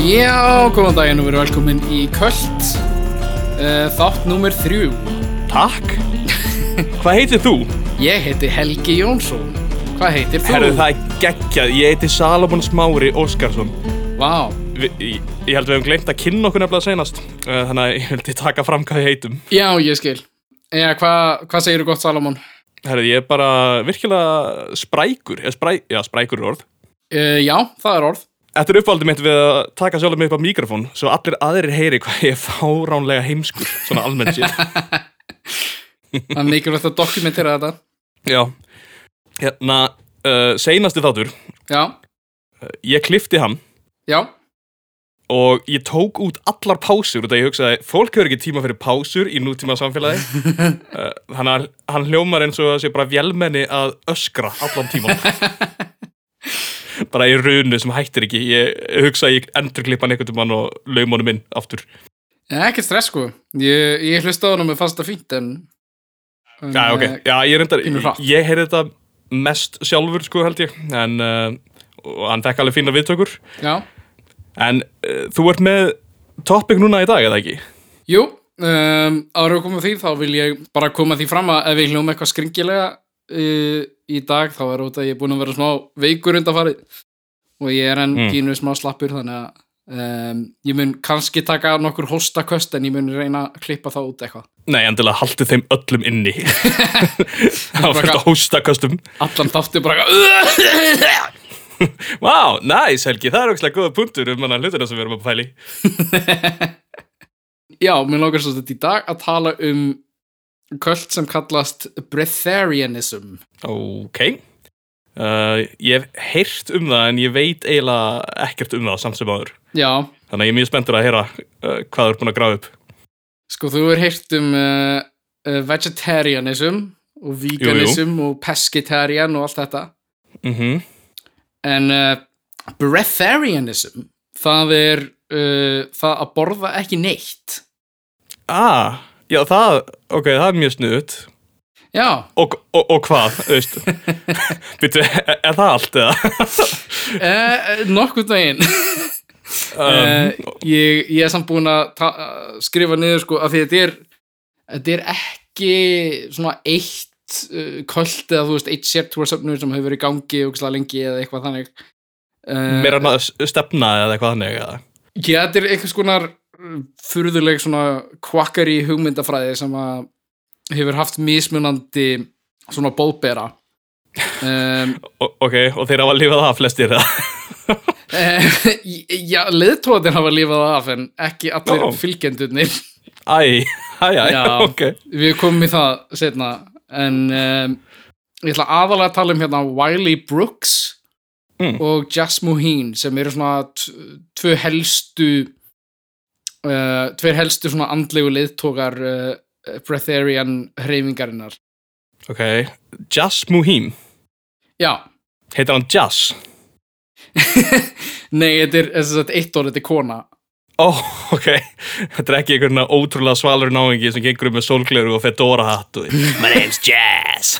Já, góðan daginn og verið velkomin í Köld uh, Þátt númer þrjú Takk Hvað heitir þú? Ég heiti Helgi Jónsson Hvað heitir þú? Herðu það er geggjað, ég heiti Salomon Smári Óskarsson Vá, Vi, ég, ég held við hefum glemt að kynna okkur nefnilega senast uh, Þannig að ég vildi taka fram hvað við heitum já ég skil Já, hvað hva segirðu gott Salomon? Herðu ég er bara virkilega sprækur eða spræ, Já, sprækur er orð Uh, já, það er orð Þetta er uppáldið mitt við að taka sjálfum mig upp á mikrofón Svo allir aðrir heyri hvað ég er fáránlega heimskur Svona almennt sér Það er mikilvægt að dokumentera þetta Já Hérna, uh, seinasti þáttur Já, Ég klifti hann já, og ég tók út allar pásur út af ég hugsaði, fólk hefur ekki tíma fyrir pásur í nútíma samfélagi þannig að hann hljómar eins og það sé bara vélmenni að öskra allan tíman bara í runu sem hættir ekki ég hugsa að ég endur klippa hann einhvern mann og laum honum inn aftur ja, ekkert stress sko Ég, ég hlusta á hana með fasta fínt en, en já, ok, eh, já, ég reyndar Pínu hratt. ég heyrði þetta mest sjálfur sko held ég en uh, og hann fekk alveg fína viðtökur Já, en uh, þú ert með topic núna í dag eða ekki? jú um, Ára að koma að því þá vil ég bara koma því fram að ef ég hljóma eitthvað skringilega uh, í dag þá er út að ég er búin að vera smá veikur undanfarið og ég er enn Mm. pínu smá slappur þannig að um, ég mun kannski taka nokkur hóstaköst en ég mun reyna að klippa það út eitthvað Nei, endilega haldið þeim öllum inni Það var fyrir að hósta kostum allan þátti bara eitthvað Vá, næs Helgi, það er ógstlega góða punktur um hann hlutina sem við erum að pæli Já, mér lókar svo þetta í dag að tala um köld sem kallast breatharianism Ok uh, Ég hef heyrt um það en ég veit eiginlega ekkert um það samt sem áður Já, Þannig að ég er mjög spenntur að heyra uh, hvað þú er búin að grafa upp Sko, þú er heyrt um uh, uh, vegetarianism og veganism og pescetarian og allt þetta. mm En uh, breatharianism, það er uh, það að borða ekki neitt. Ah, já það, ok, það er mjög snuðut Já, og, og, og hvað, þú veist Býttu, er, er það allt eða? uh, nokkuð daginn. Um, Uh, ég, ég er samt búin að ta- að skrifa niður sko að því þetta er, þetta er ekki svona eitt uh, köld eða þú veist eitt sértúarsöfnur sem hefur verið í gangi og lengi eða eitthvað þannig. Uh, Mér er hann Um, að stefna eða eitthvað þannig eða? Já, þetta er einhvers konar mm, furðuleg svona kvakkari hugmyndafræði sem að hefur haft mismunandi svona bóðbera um, O- Ok, og þeir hafa lifað það flestir það. uh, Já, leðtóðin hafa lifað af en ekki allir Ó. fylgjendurnir Æ, æ, æ, Já. ok. Við komum í það setna en um, ég ætla aðalega að tala um hérna Wiley Brooks Mm. og Jasmu Heen sem eru svona t- tvö helstu uh, tveir helstu svona andlegu liðtókar uh, breatharian hreyfingarinnar Ok, Jazz Muhim, Já, heitir hann Jazz? nei, þetta er, þetta er eitt orð, þetta er kona Ó, ok, þetta er ekki einhverjum ótrúlega svalur náingi sem gengur um með sólgleru og fedora hatt og My name's Jazz.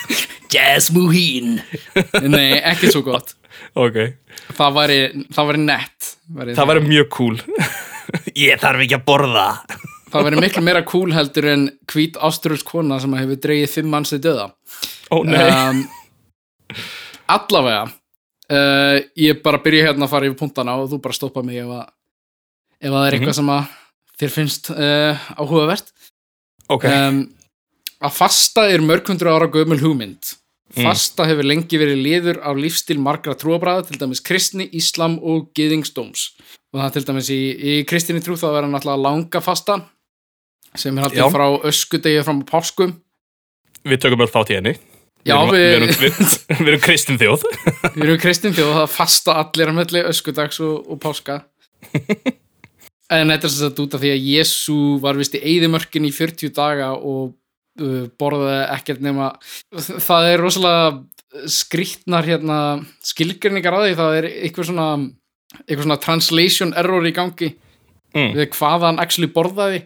Jasmu Heen Nei, ekki svo gott Ok, Það væri, það væri nett væri það væri mjög cool. Ég þarf ekki að borða. Það verður miklu meira cool heldur en hvít áströls kona sem hefur dreigið fimm manns til döða. Ó, nei. Um, allavega, uh, ég bara byrja hérna að fara yfir punktana og þú bara stoppa mig ef, að, ef að það er Mhm. eitthvað sem að þér finnst uh, áhugavert. ok, Um, að fasta er mörg hundru ára gömul hugmynd. Mm. Fasta hefur lengi verið liður á lífstil margra trúabræða, til dæmis kristni, íslam og gyðingsdóms. Og það er til dæmis í, í kristinni trú þá er hann alltaf langa fasta sem er Já. haldið frá öskudegi fram á páskum. við tökum öll þátt í henni. Já, við... við- erum, við, erum, við, við erum kristin þjóð. Við erum kristin þjóð og það fasta allir að melli öskudags og, og páska. en þetta er sem sagt út af því að Jésu var vist í eyðimörkin í 40 daga og uh, borðaði ekkert nema... Það er rosalega skrýtnar hérna, skilgrinningar að því, það er eitthvað svona, eitthvað svona translation error í gangi Mm. við hvað hann actually borðaði.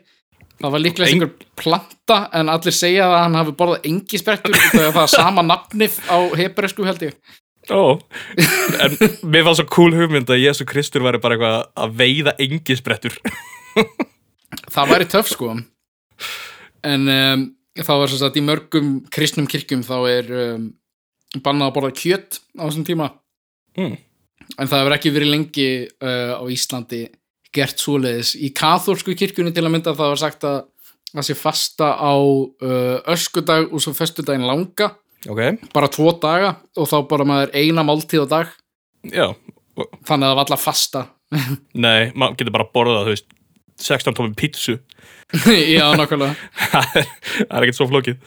Það var líklega Eng- einhver planta en allir segja að hann hafi borðað engi sprettur þegar það er sama nafnið á hebreusku held ég. Ó, en mér fannst svo cool hugmynd að Jésu Kristur væri bara eitthvað að veiða engisbrettur. það væri töff sko en um, þá var sem sagt í mörgum kristnum kirkjum þá er um, bannað að borða kjöt á þessum tíma Mm. en það hefur ekki verið lengi uh, á Íslandi gert svoleiðis í kathólsku kirkjunni til að mynda það var sagt að það sé fasta á uh, öskudag og svo föstudaginn langa Ok, bara tvo daga og þá bara maður eina máltíð á dag já. þannig að það var alltaf fasta Nei, maður getur bara að borða það, þú veist, 16 tómi pítsu. já, nákvæmlega það er það er ekkert svo flókið.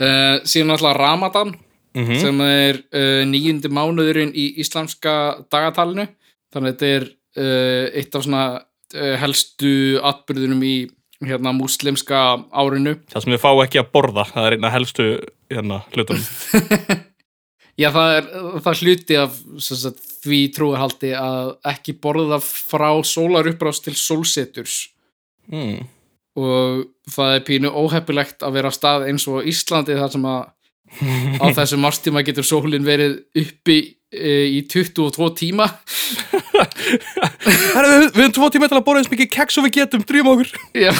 uh, síðan alltaf Ramadan Mm -hmm. sem er uh, nýjundi mánuðurinn í íslamska dagatalinu þannig að þetta er uh, eitt af svona uh, helstu atbyrðunum í hérna múslimska árinu Það sem við fá ekki að borða, það er einna helstu hérna, hlutum. já það er, það er hluti af sem sagt, því trúarhaldi að ekki borða frá sólarupprás til sólseturs Mm. og það er pínu óheppilegt að vera á stað eins og á Íslandi þar sem að á þessum marstíma getur sólin verið uppi uh, í 22 tíma Herra, við, við höfum tvo tíma til að borða eins mikið keks og við getum, drýjum okkur. Já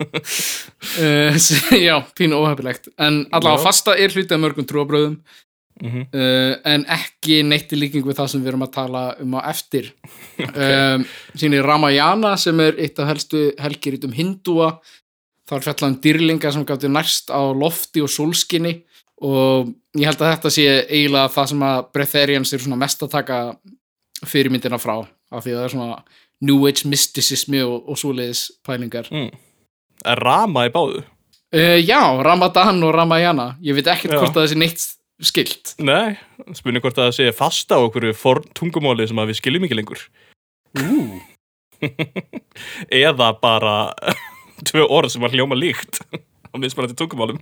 uh, s- Já, pínu óhefilegt En allavega Já. fasta er hluti af mörgum trúabröðum Mm -hmm. uh, En ekki neitt í líking við það sem við erum að tala um á eftir um, Sýnir Ramayana sem er eitt af helstu helgirítum hindúa Það er fjallað um dýrlinga sem gáttu nærst á lofti og sólskinni og ég held að þetta sé eiginlega það sem að Breatharians er svona mest að taka fyrirmyndina frá af því að það er svona New Age mysticismi og, og svoleiðis pælingar Rama í báðu. Uh, já, Ramadan og Ramayana Ég veit ekkert Já. hvort að þessi neitt skilt Nei, spurning hvort að það sé fasta á okkur forn tungumáli sem að við skiljum ekki lengur. Ú. Eða bara tvö orð sem að hljóma líkt á mismunandi tungumálum.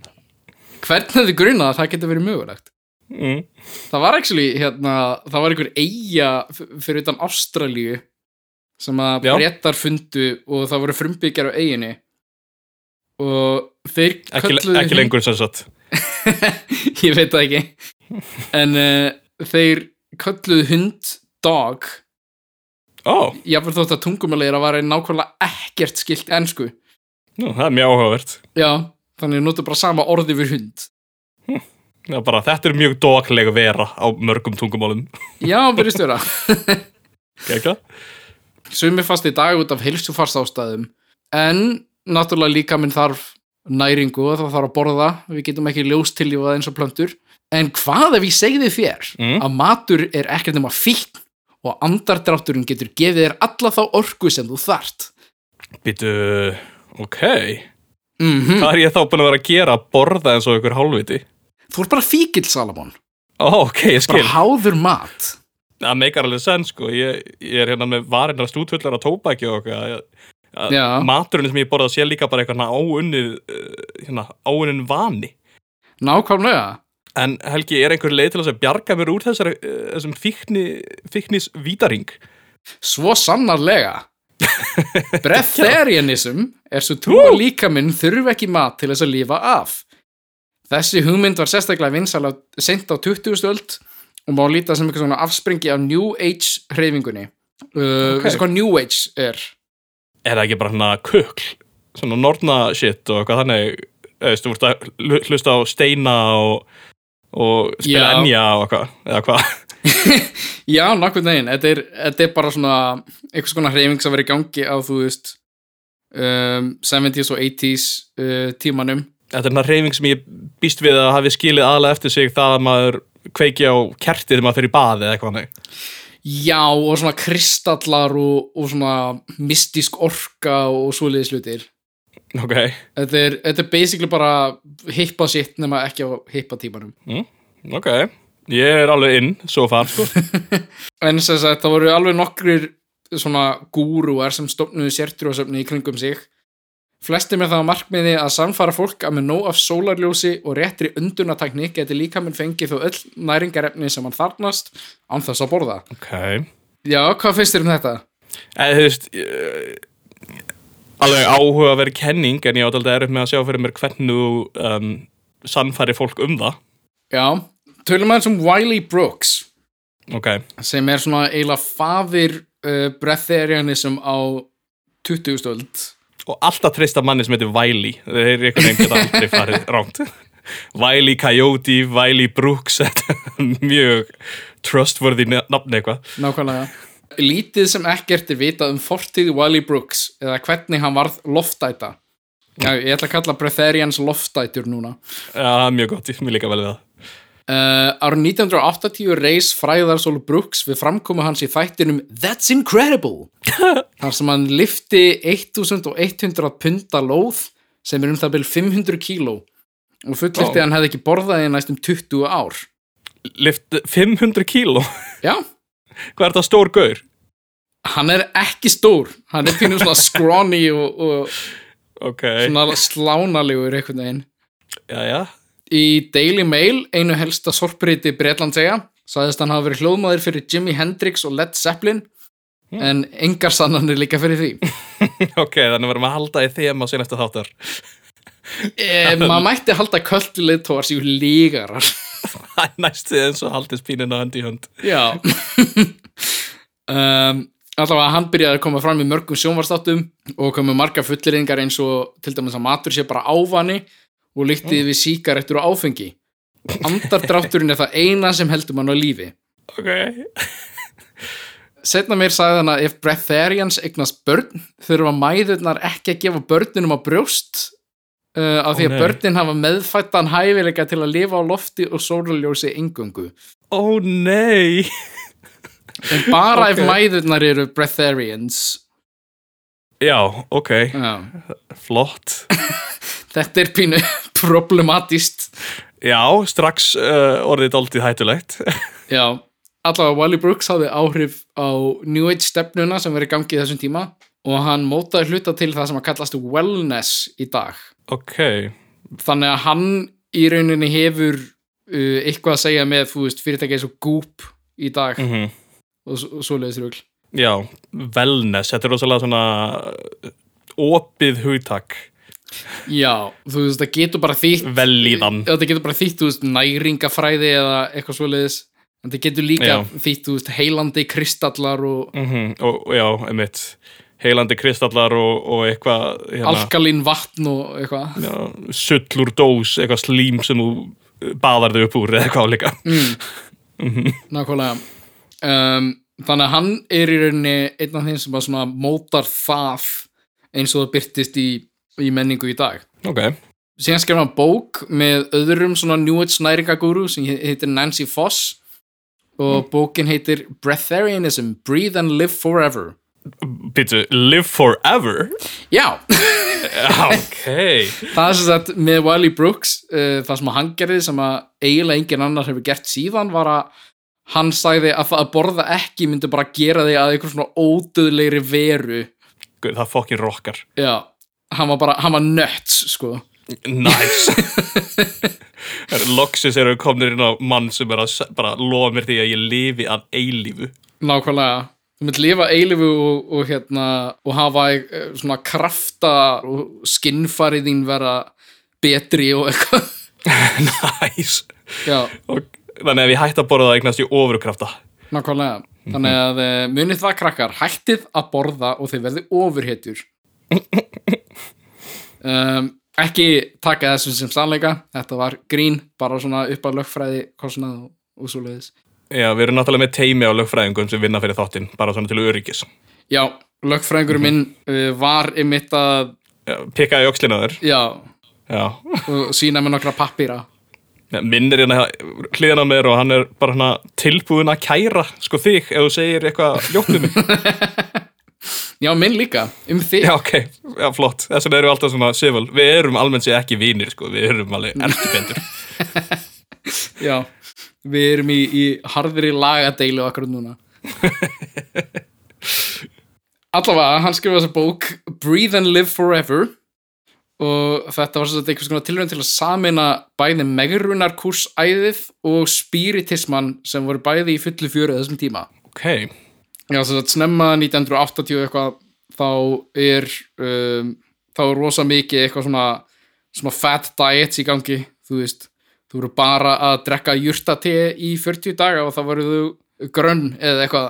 Hvernig hefði grunað að það getur verið mögulegt? Mm. Það var actually, hérna, það var einhver eiga fyrir utan Ástralíu sem að Já. brettar fundu og það voru frumbyggjar á eiginni og þeir Ekki, kölluðu ekki lengur sem sagt. ég veit það ekki en uh, þeir kölluðu hund dog Ó, jafnvel þótt að tungumæli er að vara nákvæmlega ekkert skilt ensku nú, það er mjög áhugavert. Já, þannig notu bara sama orði við hund. Það er bara, þetta er mjög dogleg vera á mörgum tungumálum. Já, verðist vera. Gekka? Sumi fast í dag út af heilsufarst ástæðum. En, náttúrulega líka minn þarf næringu og það þarf að borða. Við getum ekki ljóst tiljúfað eins og plöntur. En hvað ef ég segði þér Mm. að matur er ekkert nema fíkn og andardrátturinn getur gefið þér alla þá orku sem þú þart? Býtu, ok. Mm Hvað er ég þá búin að vera að gera? Borða eins og ykkur hálfviti? Þú ert bara fíkil, Salamón. Ó, ok, ég skil. Bara háður mat. Það meikar alveg senn, sko. Ég, ég er hérna með varinnar stúthullar á tóbaki og okkur. Að- Já. Maturinn sem ég borða sé líka bara eitthvað áunnið, uh, hérna, áunnin vani. Nákvæmlega. En Helgi, er einhver leið til þess að bjarga mér úr þessari, uh, þessum fíkni, fíknis vítaring? Svo sannarlega Breatharianism er svo trú að líkaminn þurfi ekki mat til þess að lifa af Þessi hugmynd var sérstaklega vinsal seint á 20. öld og má líta sem eitthvað svona afspringi af New Age hreyfingunni uh, Ok. Veistu hvað New Age er? Er það ekki bara hérna kökl? Svona norna shit og eitthvað þannig, eða veist, þú vart að hlu- hlusta á steina og, og spila Já. ennja og eitthvað, eða hvað? Já, nákvæmd neginn, þetta er, þetta er bara svona einhvers konar hreyfing sem verið í gangi á þú veist um, 70s og 80s uh, tímanum Þetta er hérna reyfing sem ég býst við að hafi skilið aðlega eftir sig það að maður kveiki á kertið þegar maður fyrir baði eða eitthvað þannig. Já, og svona kristallar og, og svona mystísk orka og svoleiðis hlutir. Ok, Þetta er, þetta er basically bara hippa sitt nema ekki á hippa tímanum. ok. Ég er alveg inn, svo far, sko. En sem sagt, það voru alveg nokkrir svona gúrúar sem stofnuðu sértrúasöfni í kringum sig. Flestir með það að markmiði að samfara fólk að með nóg af sólarljósi og réttri undunatækni geti líka minn fengið þó öll næringarefni sem hann þarnast án þess að borða. Ok. Já, hvað finnst þér um þetta? Eða, þú veist, ég, alveg áhuga að vera kenning en ég átt aldrei erið með að sjá fyrir mér hvernig þú um, sannfæri fólk um það. Já, tölum aðeins um Wiley Brooks ok, sem er svona eiginlega fafir uh, breatharianism á 20. stöld og alltaf treysta manni sem heitir Wiley þeir eru einhvern veginn geta aldrei farið rámt Wiley Coyote, Wiley Brooks þetta er mjög trustworthy na- nafn eitthvað nákvæmlega lítið sem ekkert er vitað um fortíð Wiley Brooks eða hvernig hann varð loftæta Já, ég ætla að kalla breatharians loftætur núna ja, mjög gott, mér líka vel við það Uh, árið 1980 reis fræðarsól Brooks við framkomu hans í þættinum That's Incredible þar sem hann lifti 1100 punta lóð sem er um það byrjum 500 kíló og fullirti Vá. að hann hefði ekki borðað í næstum 20 ár lift 500 kíló, Já, hvað er það stór gaur? hann er ekki stór hann er pínum svona scrawny og, og ok, svona slánalegur einhvern veginn já, já Í Daily Mail, einu helsta sorpriti Bretlandsega, sagðist hann hafa verið hljóðmaður fyrir Jimi Hendrix og Led Zeppelin en engar sannanir líka fyrir því. ok, þannig verðum að halda í þema sín eftir þáttar E, maður mætti halda költu leiðtóar sér lígarar. Það er næstu eins og haldið spínina hönd í hönd Já. um, allavega hann byrjaði að koma fram í mörgum sjónvarstáttum og komu margar fulleringar eins og til dæmis að matur sé bara ávani og líktið við síkarettur og áfengi. Andardrátturinn er það eina sem heldur mann á lífi. ok, Setna mér sagði hann að ef breatharians eignast börn þurfa mæðurnar ekki að gefa börnunum á brjóst uh, af því Ó, að nei. börnin hafa meðfættan hæfileika til að lifa á lofti og sólarljósi engöngu. ó nei En bara Ok. ef mæðurnar eru breatharians. já, ok, Já. flott Þetta er pínu problematist. já, strax uh, orðið dálítið hættulegt Já, allavega Wally Brooks hafði áhrif á New Age stefnuna sem verið gangi í þessum tíma og hann mótaði hluta til það sem að kallast wellness í dag. ok, þannig að hann í rauninni hefur uh, eitthvað að segja með þú veist, fyrirtæki eins og Goop í dag mhm og, s- og svoleiðis rögl Já, wellness, þetta er rosalega svona uh, opið hugtak, já, þú veist, það getur bara þýtt velíðan þetta getur bara þýtt, þú veist, næringafræði eða eitthvað svoleiðis en það getur líka Já. þýtt, þú veist, heilandi kristallar og mm og, og já, einmitt, heilandi kristallar og, og eitthvað hérna, alkalín vatn og eitthvað já, sull úr dós, eitthvað slím sem þú uh, baðar þau upp úr eða eitthvað líka nákvæmlega um, þannig að hann er í rauninni einn af þeim sem bara svona mótar það eins og það byrtist í, í menningu í dag Ok, síðan skrifa hann bók með öðrum svona New Age næringagúru sem he- heitir Nancy Foss og bókin heitir Breatharianism, Breathe and Live Forever býttu, live forever Já, Já, ok það er sem sagt með Wiley Brooks uh, það sem hann gerði sem að eiginlega engin annar hefur gert síðan var að hann sagði að það að borða ekki myndi bara gera þig að einhver svona ódöðlegri veru Guð, það fokkin rockar Já, hann var bara, hann var nuts sko Nice Loxis eru komnir inn á mann sem er að se- bara lofa mér því að ég lifi að eilífu Nákvæmlega Þú mynd lifa eilifu og, og, hérna, og hafa eh, svona krafta og skinnfarið þín vera betri og eitthvað Nice Já, og, Þannig að ef ég hætti að borða það eignast ég ofurkrafta nákvæmlega Þannig að eh, munið það krakkar hættið að borða og þið verði ofurhetjur um, Ekki taka þessum sem sannleika Þetta var grín, bara svona upp að lögfræði kostnað og, og svo leiðis Já, við erum náttúrulega með teimi á lögfræðingum sem vinna fyrir þáttinn, bara svona til öryggis Já, lögfræðingur minn uh, var einmitt að Já, Pikkaði öxlina á þér Já, Já, og sína með nokkra pappýra minn er hérna hliðan á mér og hann er bara hana tilbúin að kæra sko þig ef þú segir eitthvað ljótt um mig Já, minn líka, um þig Já, ok, já, flott, þess vegna erum við alltaf svona civil Við erum almennt sér ekki vinir, sko, við erum alveg erkibendur Já, við erum í, í harðri lagadeilu akkur núna Allavega, hann skrifa þessa bók Breathe and Live Forever og þetta var svolítið einhvers konar tilraun til að samina bæði megrunarkursæðið og spiritismann sem voru bæði í fullu fjöru á þessum tíma Ok, Já, þess að snemma 1980 eitthvað þá er um, þá er rosa mikið eitthvað svona, svona fat diets í gangi, þú veist þú þú eru bara að drekka jurtati í 40 daga og þá voru þú grönn eða eitthvað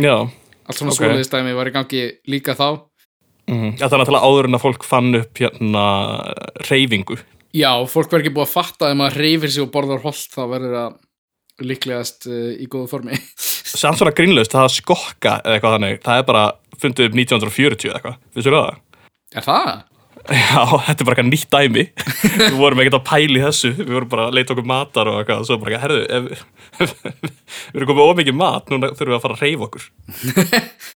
Já, allt svona Ok. okay. skóliðistæmi var í gangi líka þá mm. það er náttúrulega áður en að fólk fann upp hérna reyfingu. já, fólk verður ekki búið að fatta að ef maður reyfir sig og borðar holt þá verður það líklegast uh, í góðu formi Samt svona grínlaust, það að skokka eða eitthvað þannig, það er bara fundið upp 1940 eða eitthvað, finnst þú það? er það? Já, þetta er bara eitthvað nýtt dæmi Við vorum ekkert að pæli þessu Við vorum bara að leita okkur matar og eitthvað og Svo bara, eitthvað, herðu, ef, við erum komið ómikið mat Núna þurfum við að fara að reyfa okkur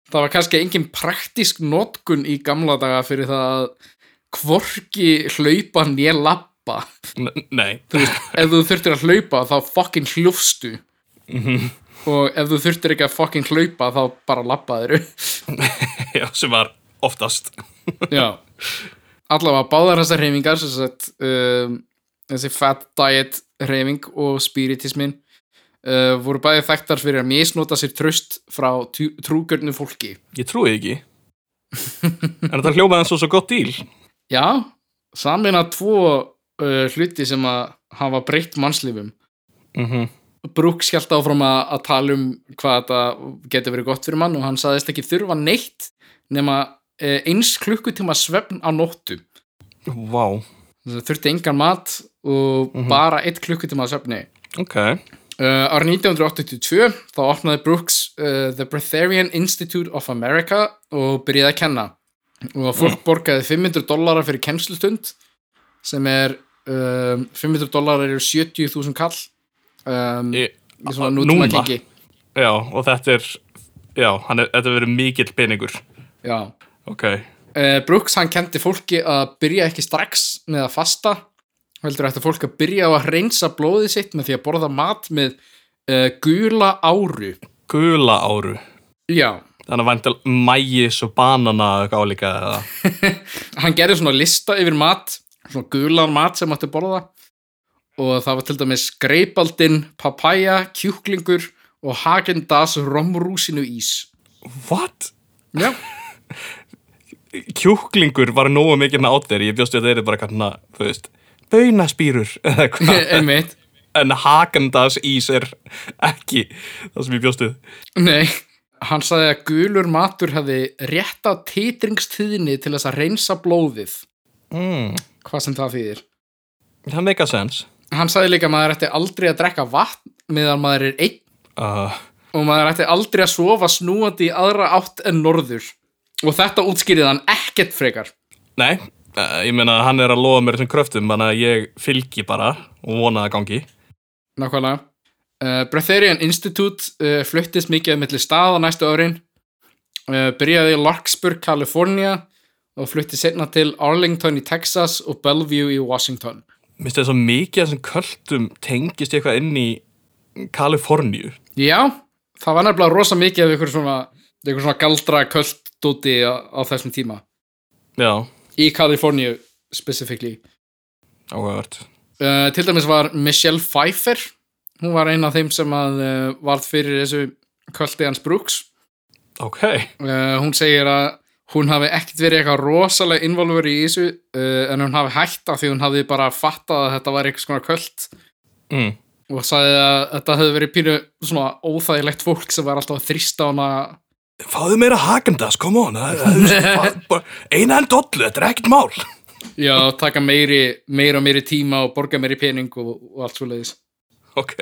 það var kannski engin praktísk notkun í gamla daga fyrir það að hvorki hlaupa né lappa N Nei, þú veist, ef þú þurftir að hlaupa þá fucking hljófstu og ef þú þurftir ekki að fucking hlaupa þá bara lappaðir já, sem var oftast Já, allavega báðar þessar hreyfingar sem sagt, um, þessi fat diet hreyfing og spiritismin uh, voru bæði þekktar fyrir að misnota sér tröst frá tú- trúgjörnu fólki Ég trúi því ekki En þetta hljómaði eins og svo gott díl Já, samina tvo uh, hluti sem að hafa breytt mannslifum mm Brooks hjælt áfram að, að tala um hvað þetta getur verið gott fyrir mann og hann saðist ekki þurfa neitt nema uh, eins klukkutíma svefn á nóttu Vá, það þurfti engan mat og bara eitt klukkutíma svefni ok Uh, árið 1982 þá opnaði Brooks uh, The Breatharian Institute of America og byrjaði að kenna og fólk borgaði 500 dollara fyrir kennslustund sem er um, 500 dollara eru 70.000 kall um, ég, í svona nútíma núna? gengi Já, og þetta er Já, hann er, þetta verið mikill peningur Já. Ok, Uh, Brooks hann kendi fólki að byrja ekki strax með að fasta heldur ætti fólk að byrja á að reynsa blóðið sitt með því að borða mat með uh, gula áru gula áru Já, Þannig að væntal mægis og banana eða eitthvað álíka eða hann gerði svona lista yfir mat svona gulan mat sem átti að borða og það var til dæmis greipaldin, papaya, kjúklingur og Hagendas romrúsinu ís What? Já, kjúklingur var nógu mikið með áttir ég bjóst við að þeir eru bara kannan að, þú veist baunaspýrur eða eitthvað einmitt en Hagendas ís er ekki það sem ég bjóst við Nei, hann sagði að gulur matur hefði rétta titringstíðni til þess að reynsa blóðið mm. hvað sem það þýðir það make a sense Hann sagði líka að maður ætti aldrei að drekka vatn meðan maður er einn uh, og maður ætti aldrei að sofa snúandi í aðra átt en norður og þetta útskýrið hann ekkert frekar nei, uh, ég meina hann er að lofa mér þessum kröftum þannig að ég fylgi bara og vona að gangi Nákvæmlega. Uh, Breatharian Institute uh, fluttist mikið millir staða næstu árin, uh, byrjaði í Larkspur, Kalifornía og flutti setna til Arlington í Texas og Bellevue í Washington. minnst þess að mikið af þessum költum tengist eitthvað inn í Kaliforníu Já, það var nefnilega rosa mikið af ykkur svona, ykkur svona galdra köld dóti á, á þessum tíma. já, Í Kaliforníu specifíkli. áhugavert Uh, til dæmis var Michelle Pfeiffer, hún var ein af þeim sem að uh, varð fyrir þessu köldi hans Brooks. ok, Uh, hún segir að hún hafi ekkert verið eitthvað rosalega involver í þessu uh, en hún hafi hætt af því hún hafi bara fattað að þetta var eitthvað svona kvöld mm. og sagði að þetta hefði verið pínu svona óþægilegt fólk sem var alltaf að þrýsta hana fáðu meira Hagendas, come on það- það- það- bara eina en dollu, þetta er ekkert mál já, taka meiri, meira og meiri tíma og borga meiri pening og, og allt svo leiðis ok,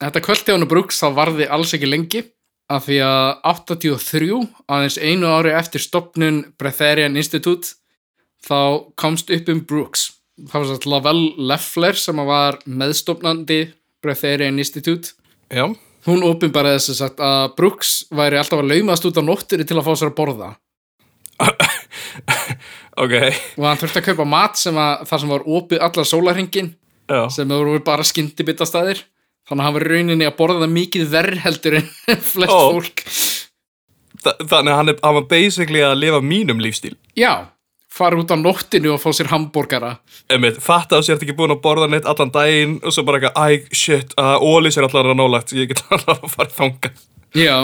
Þetta kvöldi hann og brúks þá varði alls ekki lengi af því að 83, aðeins einu ári eftir stopnun Breatharian Institute þá komst upp um Brooks. Það var satt Lavelle Leffler sem að var meðstopnandi Breatharian Institute. já Hún opinbaraði þess að sagt að Brooks væri alltaf að laumast út á nóttinni til að fá sér að borða ok, og hann þurfti að kaupa mat sem að, þar sem var opið allar sólarhingin já sem voru bara skyndibitastæðir þannig að hann var í rauninni að borða mikið verð heldur en flest Ó. fólk Þa, þannig að hann, er, hann var basically að lifa mínum lífstíl Já, fara út á nóttinu og fá sér hambúrgara. Einmitt, fatta að sér ekki búin að borða neitt allan daginn og svo bara eitthvað, æ, shit, að ólís er allan að nálagt, ég get allan að fara þanga Já,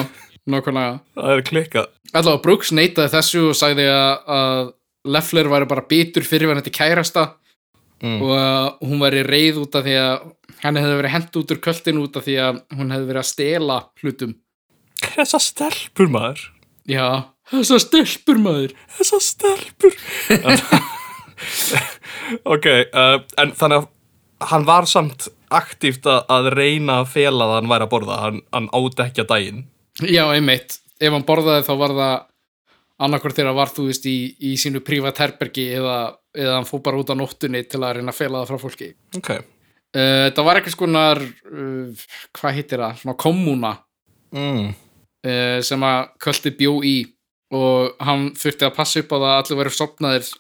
nákvæmlega. það er klikkað, Allavega Brooks neitaði þessu og sagði að, að Leffler væri bara bitur fyrir hann þetta kærasta og uh, hún væri reið út af því að henni hefði verið hent út úr kvöldin út af því að hún hefði verið að stela hlutum Þessa stelpur maður já, þessar stelpur maður Þessa stelpur Ok, uh, en þannig að hann var samt aktíft að- að reyna að fela að hann væri að borða hann, hann áti ekki að daginn já, einmitt, ef hann borðaði þá var það annarkvort þegar var þú veist í, í sínu prívat herbergi eða, eða hann fór bara út á nóttunni til að reyna að fela það frá fólki Ok uh, það var eitthvað skonar uh, hvað hittir það, svona kommuna mm. uh, sem að kvöldi bjó í og hann þurfti að passa upp á það að allir væri sopnaðir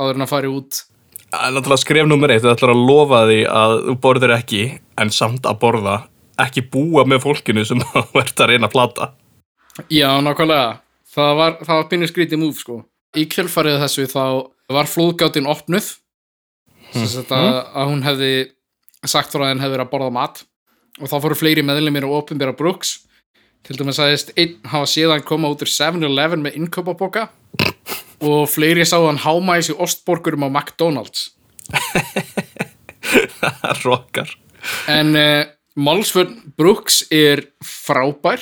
áður en að fara út Það er Eh, náttúrulega skref nummer eitt, þú ætlar að lofa því að þú borðir ekki, en samt að borða, ekki búa með fólkinu sem þú ert að reyna að plata. Já, nákvæmlega. Það var, það var pínu skrítið múf, sko. Í kjölfarið þessu þá var flóðgátin opnuð, sem sagt að, að hún hefði sagt frá að henn hefði verið að borða mat og þá fóru fleiri meðlumir á opinbera brúks. Til dæmis aðeins einn hafa síðan koma út úr 7-Eleven með innkaupaboka og fleiri sá hann háma í sig ostborgurum á McDonald's. Rokkar. En uh, málsvörn Brooks er frábær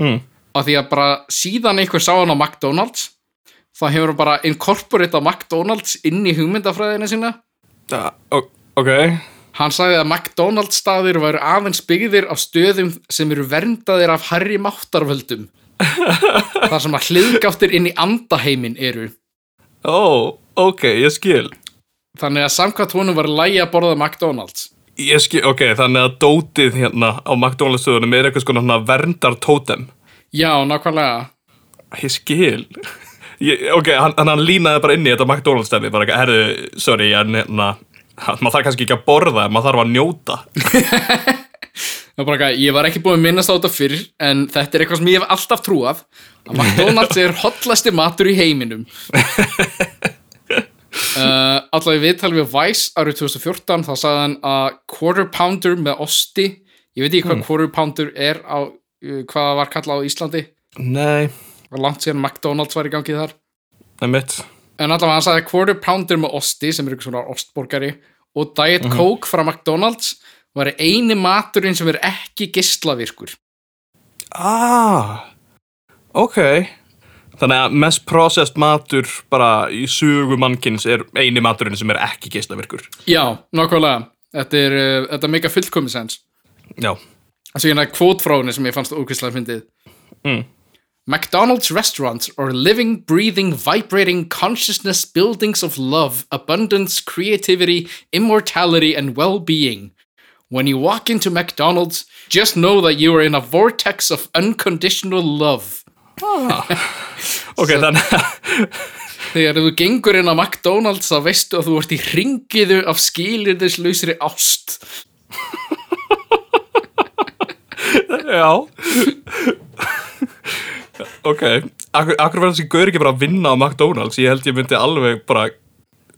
Mm. af því að bara síðan einhver sá hann á McDonalds þá hefur hann bara inkorporita McDonalds inn í hugmyndafræðina sína Eh, ok. hann sagði að McDonalds staðir væru aðeins byggðir af stöðum sem eru verndaðir af herri máttarvöldum þar sem að hliðgáttir inn í andaheimin eru Ó, ok, ég skil. þannig að samkvæmt honum var lægi að borða McDonalds Ég skil, ok, þannig að dótið hérna á McDonalds-stöðunum er eitthvað skona svona verndartótem. já, nákvæmlega Ég skil. Ég, ok, hann, hann- hann línaði bara inn í þetta McDonalds-stömi, bara eitthvað, herðu, sorry, en hérna, maður þarf kannski ekki að borða, en maður þarf að njóta. Það er bara eitthvað, ég var ekki búin að minnast á þetta fyrr en þetta er eitthvað sem ég hef alltaf trúað að McDonalds er hotlasti matur í heiminum uh, Alltaf í viðtal við Vice árið 2014 þá sagði hann að quarter pounder með osti ég veit ekki hvað quarter pounder er á, uh, hvað það var kallað á Íslandi Nei, Það var langt síðan McDonalds var í gangi þar það er mitt. en allavega hann sagði quarter pounder með osti sem er eitthvað svona ostborgari og Diet Coke frá McDonalds var eini maturinn sem er ekki gislavirkur Ah, ok. Þannig að mest processed matur bara í sögu mannkins er eini maturinn sem er ekki geislavirkur. Já, nákvæmlega. Þetta er, uh, þetta er mega fullkomisens. Já. Svo hérna kvót frá henni sem ég fannst ókvistlega fyndið. Mm. McDonald's restaurants are living, breathing, vibrating, consciousness buildings of love, abundance, creativity, immortality and well-being. When you walk into McDonald's, just know that you are in a vortex of unconditional love. Ok, þannig að, Þegar þú gengur inn á McDonald's þá veistu að þú ert í ringiðu af skilirðislausri ást. já. ok, akkur, akkur verður þessi gaur ekki bara að vinna á McDonalds? Ég held ég myndi alveg bara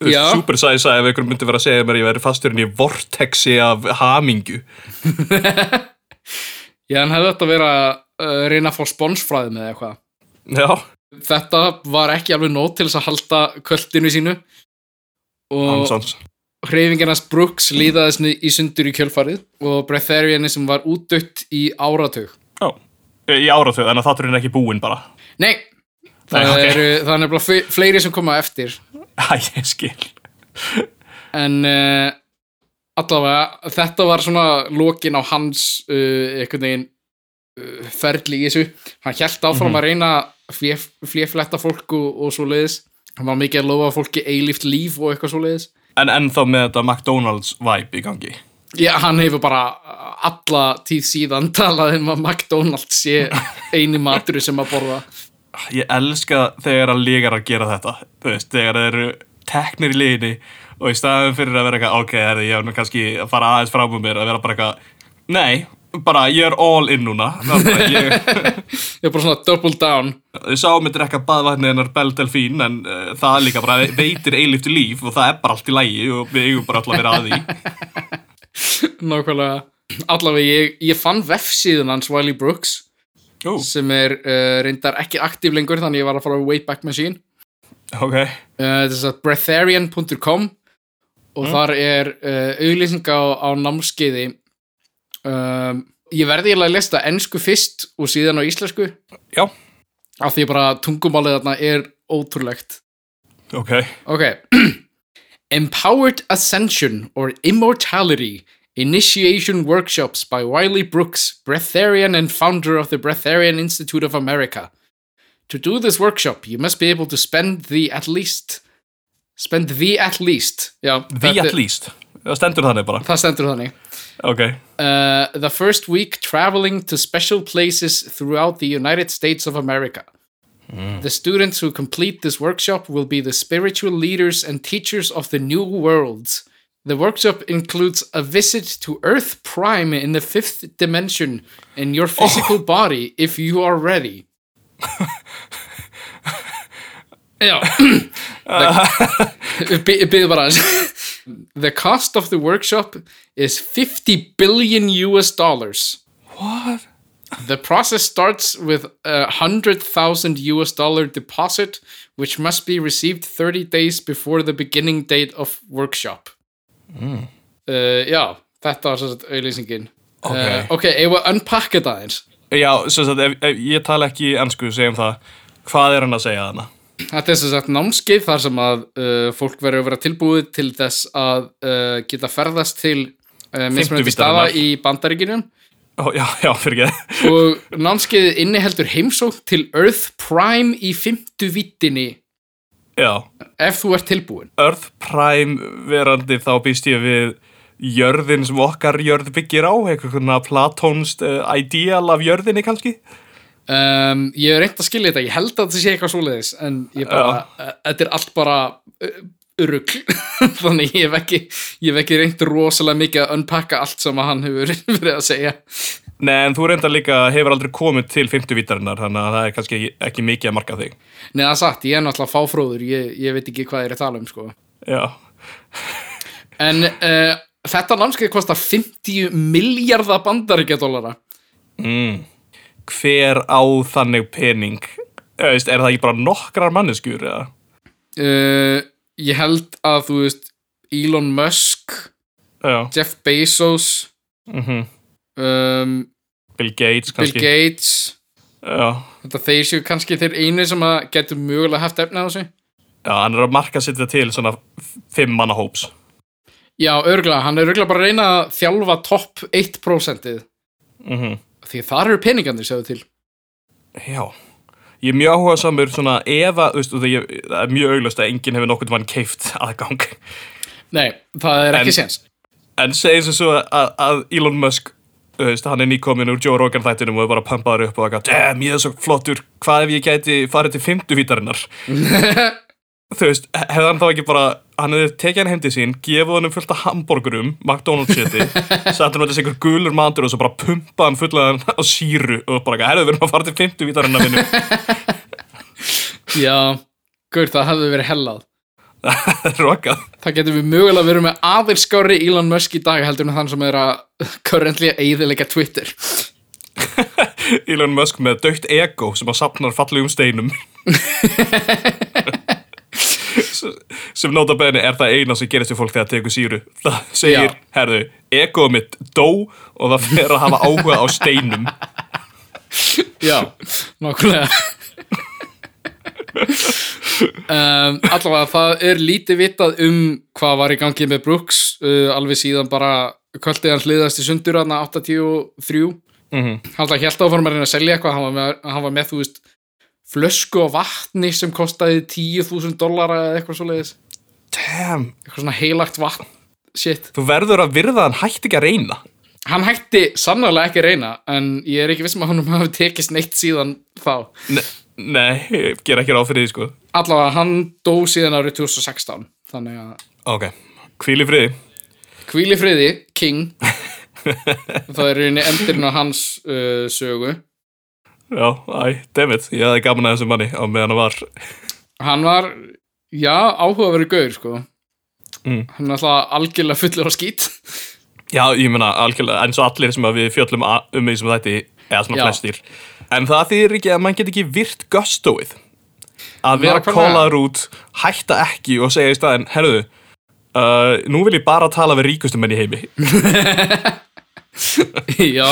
Já. supersæsa ef einhver myndi vera að segja mér að ég væri fasturinn í vortexi af hamingu. Já, hann hefði þetta verið að uh, reyna að fá sponsfræði með eitthvað. Já. Þetta var ekki alveg nót til þess að halda kvöldinu sínu og Hansons. hreyfingarnas Brooks líðaðist ni- í sundur í kjölfarið og Breathariani sem var útdött í áratug. Já. Í áratöð, þannig að þátturinn er ekki búinn bara. Nei, það, Nei, ok. eru, það er nefnilega fle- fleiri sem koma á eftir Æ, ég skil. en uh, allavega þetta var svona lokin á hans uh, einhvern veginn uh, ferli í þessu, hann hjælt áfram að reyna að fléfletta fólk og, og svo leiðis, hann var mikið að lofa fólki eilíft líf og eitthvað svo leiðis En ennþá með þetta McDonalds vibe í gangi. Já, hann hefur bara alla tíð síðan talað um að McDonalds sé eini matur sem að borða Ég elska þegar að lígar að gera þetta. Þú veist, þegar þeir eru teknir í liðinni og í staðum fyrir að vera eitthvað, ok, herri, ég er nú kannski að fara aðeins fram um mér að vera bara eitthvað, nei, bara ég er all in núna. Það er Bara, ég, Ég er bara svona double down ég sá mig drekka baðvætni hennar Bell Delfín, en uh, það er líka bara veitir eiliftu líf og það er bara allt í lægi og við eigum bara alltaf að vera að því. Nákvæmlega Allavega, ég, ég fann vefsíðun hans Wiley Brooks Jú, sem er uh, reyndar ekki aktív lengur þannig ég var að fara á Wayback Machine ok. uh, þess að breatharian.com og þar er uh, auðlýsing á, á námskeiði um, ég verði eiginlega að lesta ennsku fyrst og síðan á íslensku Já. af því bara tungumálið þarna er ótrúlegt Ok. Ok. Empowered Ascension or Immortality Initiation Workshops by Wiley Brooks, Breatharian and founder of the Breatharian Institute of America. To do this workshop, you must be able to spend the at least spend the at least Já, The þetta- at least. Það stendur þannig bara. Það stendur þannig. Ok. Uh, the first week traveling to special places throughout the United States of America. The students who complete this workshop will be the spiritual leaders and teachers of the new worlds. The workshop includes a visit to Earth Prime in the fifth dimension in your physical body if you are ready. Já, Bi- bíðu bara aðeins. The cost of the workshop is 50 billion US dollars. What? The process starts with a 100,000 US dollar deposit, which must be received 30 days before the beginning date of workshop. Hmm. Uh, já, þetta var sérst auðlýsingin. Ok. Uh, ok, eigum við að unpacka þetta eins. Já, sem sagt, ef, ef ég tala ekki ennsku, segjum það. Hvað er hann að segja þarna? Þetta er sem sagt námskeið þar sem að uh, fólk verður að vera tilbúið til þess að uh, geta ferðast til uh, mismunandi staða víddarinnar. í bandaríkinum Ó, já, já, fyrir ekki. og námskeiðið inniheldur heimsókn til Earth Prime í fymtu vittinni Já. ef þú ert tilbúin. Earth Prime verandi þá býst ég við jörðin sem okkar jörð byggir á, eitthvað svona platónst uh, ideal af jörðinni kannski? Um, ég hef reynd að skilja þetta, ég held að þetta sé eitthvað svoleiðis en ég bara, uh, þetta er allt bara urugl þannig ég hef ekki, ég hef ekki reynd rosalega mikið að unpacka allt sem að hann hefur verið að segja Nei, en þú reyndar líka hefur aldrei komið til 50 vítarinnar, þannig að það er kannski ekki, ekki mikið að marka þig. neðan sagt, ég er náttúrulega fáfróður ég, ég veit ekki hvað ég er að tala um sko Já, en uh, þetta námskeið kostar 50 miljardar bandaríkjadólara Mm. hver á þannig pening? Eða, veist, er það ekki bara nokkrar manneskjur? Eða? uh, ég held að þú veist Elon Musk, Já, Jeff Bezos mm um, Bill Gates Bill kannski. Gates Já. þetta þeir séu kannski þeir einu sem að getur mögulega haft efna á þessu Já, hann er að marka setja til svona f- fimm manna hóps. já, örgulega, hann er örgulega bara að reyna að þjálfa topp 1% Mm því þar eru peningarnir segðu til Já, ég er mjög áhuga samur svona ef að, þú veist, og það ég- það er mjög auglust að enginn hefur nokkuð mann keift aðgang. nei, það er En- ekki séns En segjum sem svo að, að Elon Musk, þú veist, hann er nýkomin úr Joe Rogan þættinum og er bara pampaður upp og eitthvað, damn, ég er svo flottur, hvað ef ég gæti farið til fymtu vítarinnar? þú veist, hefði hann þá ekki bara, hann hefði tekið hann heim til sín, gefið hann um fullt af hamburgurum, McDonald's shiti, satt hann með þessi einhver gulur matur og svo bara pumpað hann fullaðan á síru og bara, herðu, við erum að fara til fymtu vítarinnar vinnu. já, gaur, það hefði verið hellað Það er rokað. það getur við mögulega verið með aðeins skári Elon Musk í dag heldur en þann sem er að currently eiðilega Twitter Elon Musk með dögt ego sem að sapnar fallegum steinum S- sem nota beni er það eina sem gerist við fólk þegar tekur síru það segir, Já. herðu, ego mitt dó og það fer að hafa áhuga á steinum Já, nákvæmlega um, Allavega, það er lítið vitað um hvað var í gangi með Brooks uh, alveg síðan bara kvöldið hans liðast í sundur hann 83 mm hann alltaf held áfram að reyna að selja eitthvað hann var með, hann var með þú veist flösku á vatni sem kostaði 10.000 dollara eða eitthvað svoleiðis damn, eitthvað svona heilagt vatn shit þú verður að virða að hann hætti ekki að reyna hann hætti sannarlega ekki að reyna en ég er ekki viss um að hann hafi tekist neitt síðan þá ne nei, ég ger ekki ráð fyrir því sko allavega hann dó síðan árið 2016 þannig að ok, hvíl í friði hvíli friði, King það er í rauninni endurinn á hans uh, sögu já, æ, dammit, ég hafði gaman að þessum manni á meðan hann var hann var, já, áhugaveru gaur sko Mm. hann er alltaf algjörlega fullur á skít Já, ég meina algjörlega, eins og allir sem að við fjöllum a- um því sem þetta eða svona Já. flestir en það þýðir ekki að mann get ekki virt gustóið að vera Nákvæmlega. kólaður út hætta ekki og segja í staðin, herðu Uh, nú vil ég bara tala við ríkustu menn í heimi. já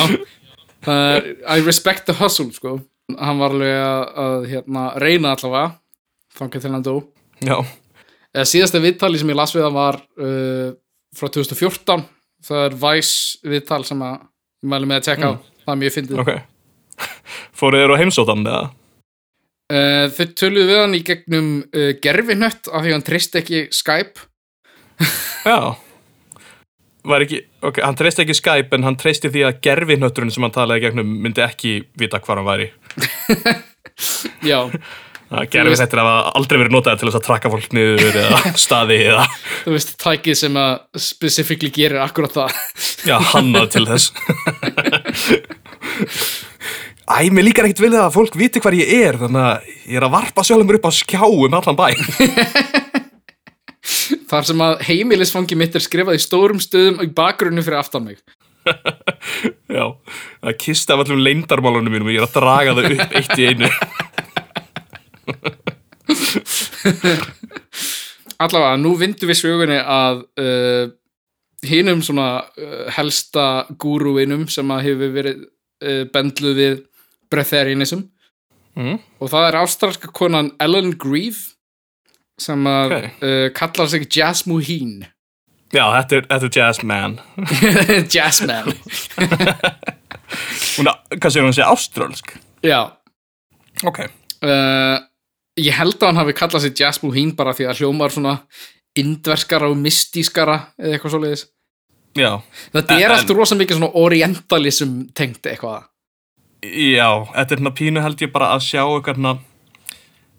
það er, I respect the hustle sko hann var alveg að, að hérna, reyna allavega þangað til hann dó Já, eða síðasta viðtali sem ég las við hann var uh, frá 2014 það er Vice viðtal sem að ég mæli með að tjekka á, það er mjög fyndið ok. Fóruð þér á heimsóttan eða? Uh, þau töluðu við hann í gegnum uh, gerfinött af því hann treyst ekki Skype Já. Var ekki, ok, hann treysti ekki Skype en hann treysti því að gerfi hnötturinn sem hann talaði í gegnum myndi ekki vita hvar hann væri. Já, Gerfi þetta hafa aldrei verið notaði til þess að trakka fólk niður eða staði eða þú veist, tækið sem að specifíkli gerir akkurat það já, hannað til þess. Æ, mér líkar ekkert vilja að fólk viti hvar ég er, þannig að ég er að varpa sjálfum mér upp á skjá um allan bæ. Þar sem að heimilisfangi mitt er skrifað í stórum stöðum í bakgrunni fyrir aftan mig Já, að kista af allum leindarmálunum mínum og ég er að draga það upp eitt í einu. Allavega, nú vindum við sögunni að uh, hinum svona uh, helsta gúrúinum sem að hefur verið uh, bendluð við breatharianism Mm. og það er ástralska konan Ellen Grieve sem að Ok. uh, kallar sig Jasmuheen Já, þetta er, þetta er jazz man. Jazzman Hún, hvað segir hún sé áströlsk? Já, Ok. uh, ég held að hann hafi kallað sig Jasmuheen bara því að hljómar svona indverskara og mystískara eða eitthvað svoleiðis Já, Þetta En- er en- allt rosa mikið svona orientalism tengt eitthvað já, þetta er hérna pínu held ég bara að sjá eitthvað hérna,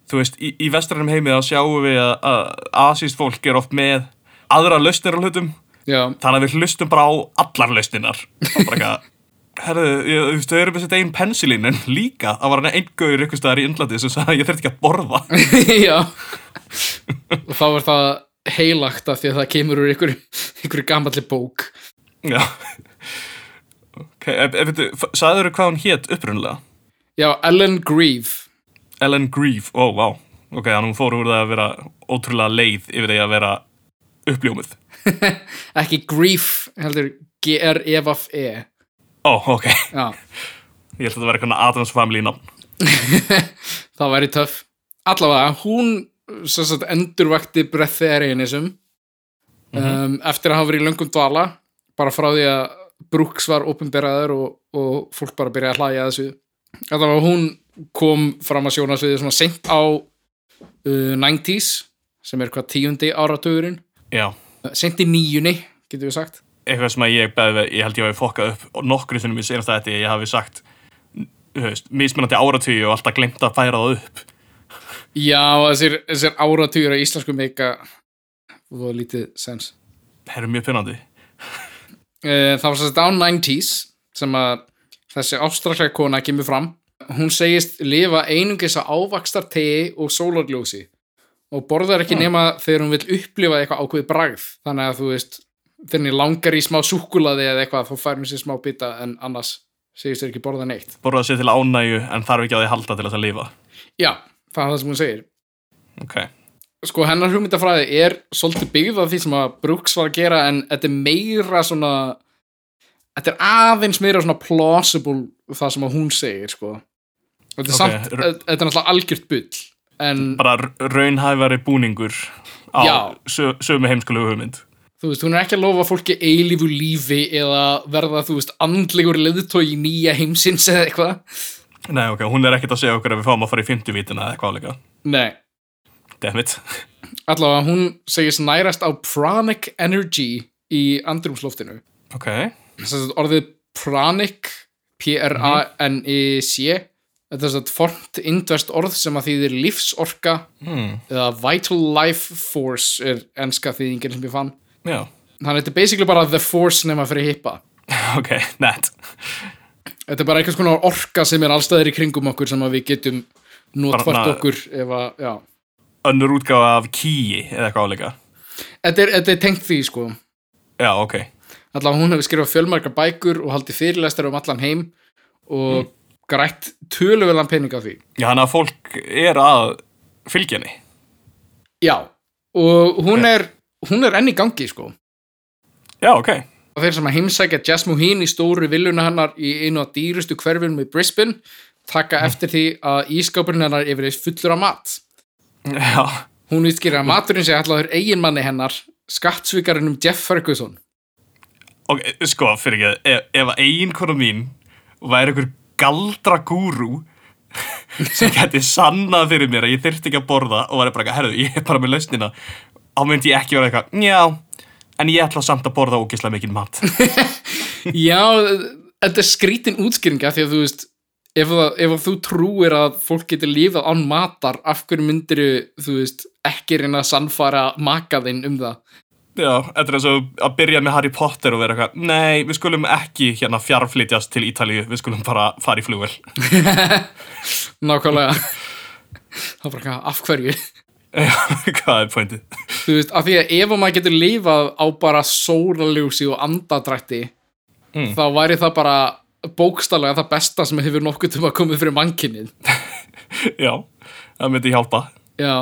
þú veist, í, í vestrænum heimið að sjáum við að, að asíst fólk er oft með aðra lausnir á hlutum, Já, þannig að við hlustum bara á allar lausninar. Og bara eitthvað, herðu, ég, þú veist, þau eru með sitt einn pensilín, en líka, það var hann einn gaur ykkur staðar í Indlandi sem sagði að ég þurfti ekki að borða. já og þá er það heilagt af því að það kemur úr ykkur, ykkur gamalli bók Já Ok, ef, ef veitu, sagður þú hvað hún hétt upprunlega? Já, Ellen Grieve Ellen Grieve, ó, oh, vá Ok, þannig hún fór úr það að vera ótrúlega leið yfir því að vera uppljómuð ekki Grief, heldur E G-R-E-V-F-E Ó, ok, Já, ég held að það vera eitthvað Adams Family nafn það væri töff allavega, hún sem sagt, endurvakti breatharianism um, eftir að hafa verið í löngum dvala bara frá því að Brooks var opinberaður og, og fólk bara byrjaði að hlæja að þessu allavega hún kom fram að sjónasviði svona sent á uh, 90s sem er hvað tíundi áratugurinn Já, sent í nýjunni, getur við sagt eitthvað sem að ég beði, ég held ég hafi fokkað upp nokkru sinnum í senast að þetta ég hafi sagt þú veist, mismunandi áratugi og alltaf glemt að færa það upp Já, þessir, þessir áratugur á íslensku meika og lítið sens Það eru mjög pinnandi Eh, það var sérst á 90s sem að þessi ástraklega kona kemur fram hún segist lifa einungis á ávakstar tegi og sólarljósi og borðar ekki nema þegar hún vill upplifa eitthvað ákveðið bragð þannig að þú veist þegar henni langar í smá súkkulaði eða eitthvað þá fær hún sér smá bita en annars segist þér ekki borða neitt Borða sér til ánægju en þarf ekki á því að halda til þess að lifa já, það er það sem hún segir Ok, sko hennar hugmyndafræði er svolítið byggð af því sem að Brooks var að gera en þetta er meira svona þetta er aðeins meira svona plausible það sem að hún segir sko þetta er Ok, samt, er- þetta er náttúrulega algjört bull en bara r- raunhæfari búningur Já. á sö, sömu heimskulegu hugmynd þú veist, hún er ekki að lofa fólki eilífu lífi eða verða, þú veist, andlegur leðutói í nýja heimsins eða eitthvað Nei, ok, hún er ekkert að segja okkur að við fáum að fara í fymtuvítina eða hvað líka nei, Dammit allavega hún segist nærast á pranic energy í andrumsloftinu Ok, Sem sagt, orðið pranic P-R-A-N-I-C þetta er þetta formt indverst orð sem að þýðir lífsorka hmm. eða vital life force er enska þýðingin sem ég fann já, þannig að þetta er basically bara the force nema fyrir hippa ok, net þetta er bara einhvers konar orka sem er allstaðir í kringum okkur sem að við getum notfært Bara- okkur ef að, já Önnur útgáfa af kýi eða hvað líka þetta er, þetta er tengt því sko Já, ok, allavega hún hefur skrifað fjölmargar bækur og haldið fyrirlestar um allan heim og grætt töluvelan pening af því já, hann að fólk er að fylgja henni Já, og hún er hún er enn í gangi sko Já, ok. og þeir sem að heimsækja Jasmuhín í stóru villuna hennar í einu af dýrustu hverfinum í Brisbane taka eftir því að ískápurinn hennar er verið fullur af mat Já, hún útskýrir að maturinn sé ætlaður eiginmanni hennar skattsvíkarinnum Jeff Ferguson ok, sko, fyrir ekki, ef, ef eiginkona mín væri einhver galdra gúrú sem geti sannað fyrir mér að ég þyrfti ekki að borða og væri bara eitthvað, herðu, ég er bara með lausnina, þá myndi ég ekki vera eitthvað, njá, en ég ætla samt að borða ógislega mikinn mat. já, þetta er skrítin útskýringa því að þú veist ef, það, ef þú trúir að fólk getur lífað án matar, af hverju myndir þú veist, ekki reyna að sannfara makaðinn um það Já, þetta er eins og að byrja með Harry Potter og vera eitthvað, nei, við skulum ekki hérna fjarflytjast til Ítalíu, við skulum bara fara í flugvel. nákvæmlega það er bara hvað, af hverju Já, Hvað er pointið? þú veist, af því að ef maður getur lifað á bara sólarljósi og andadrætti þá væri það bara bókstallega það besta sem hefur nokkuð til að koma fyrir mannkinnið Já, það myndi hjálpa. Já,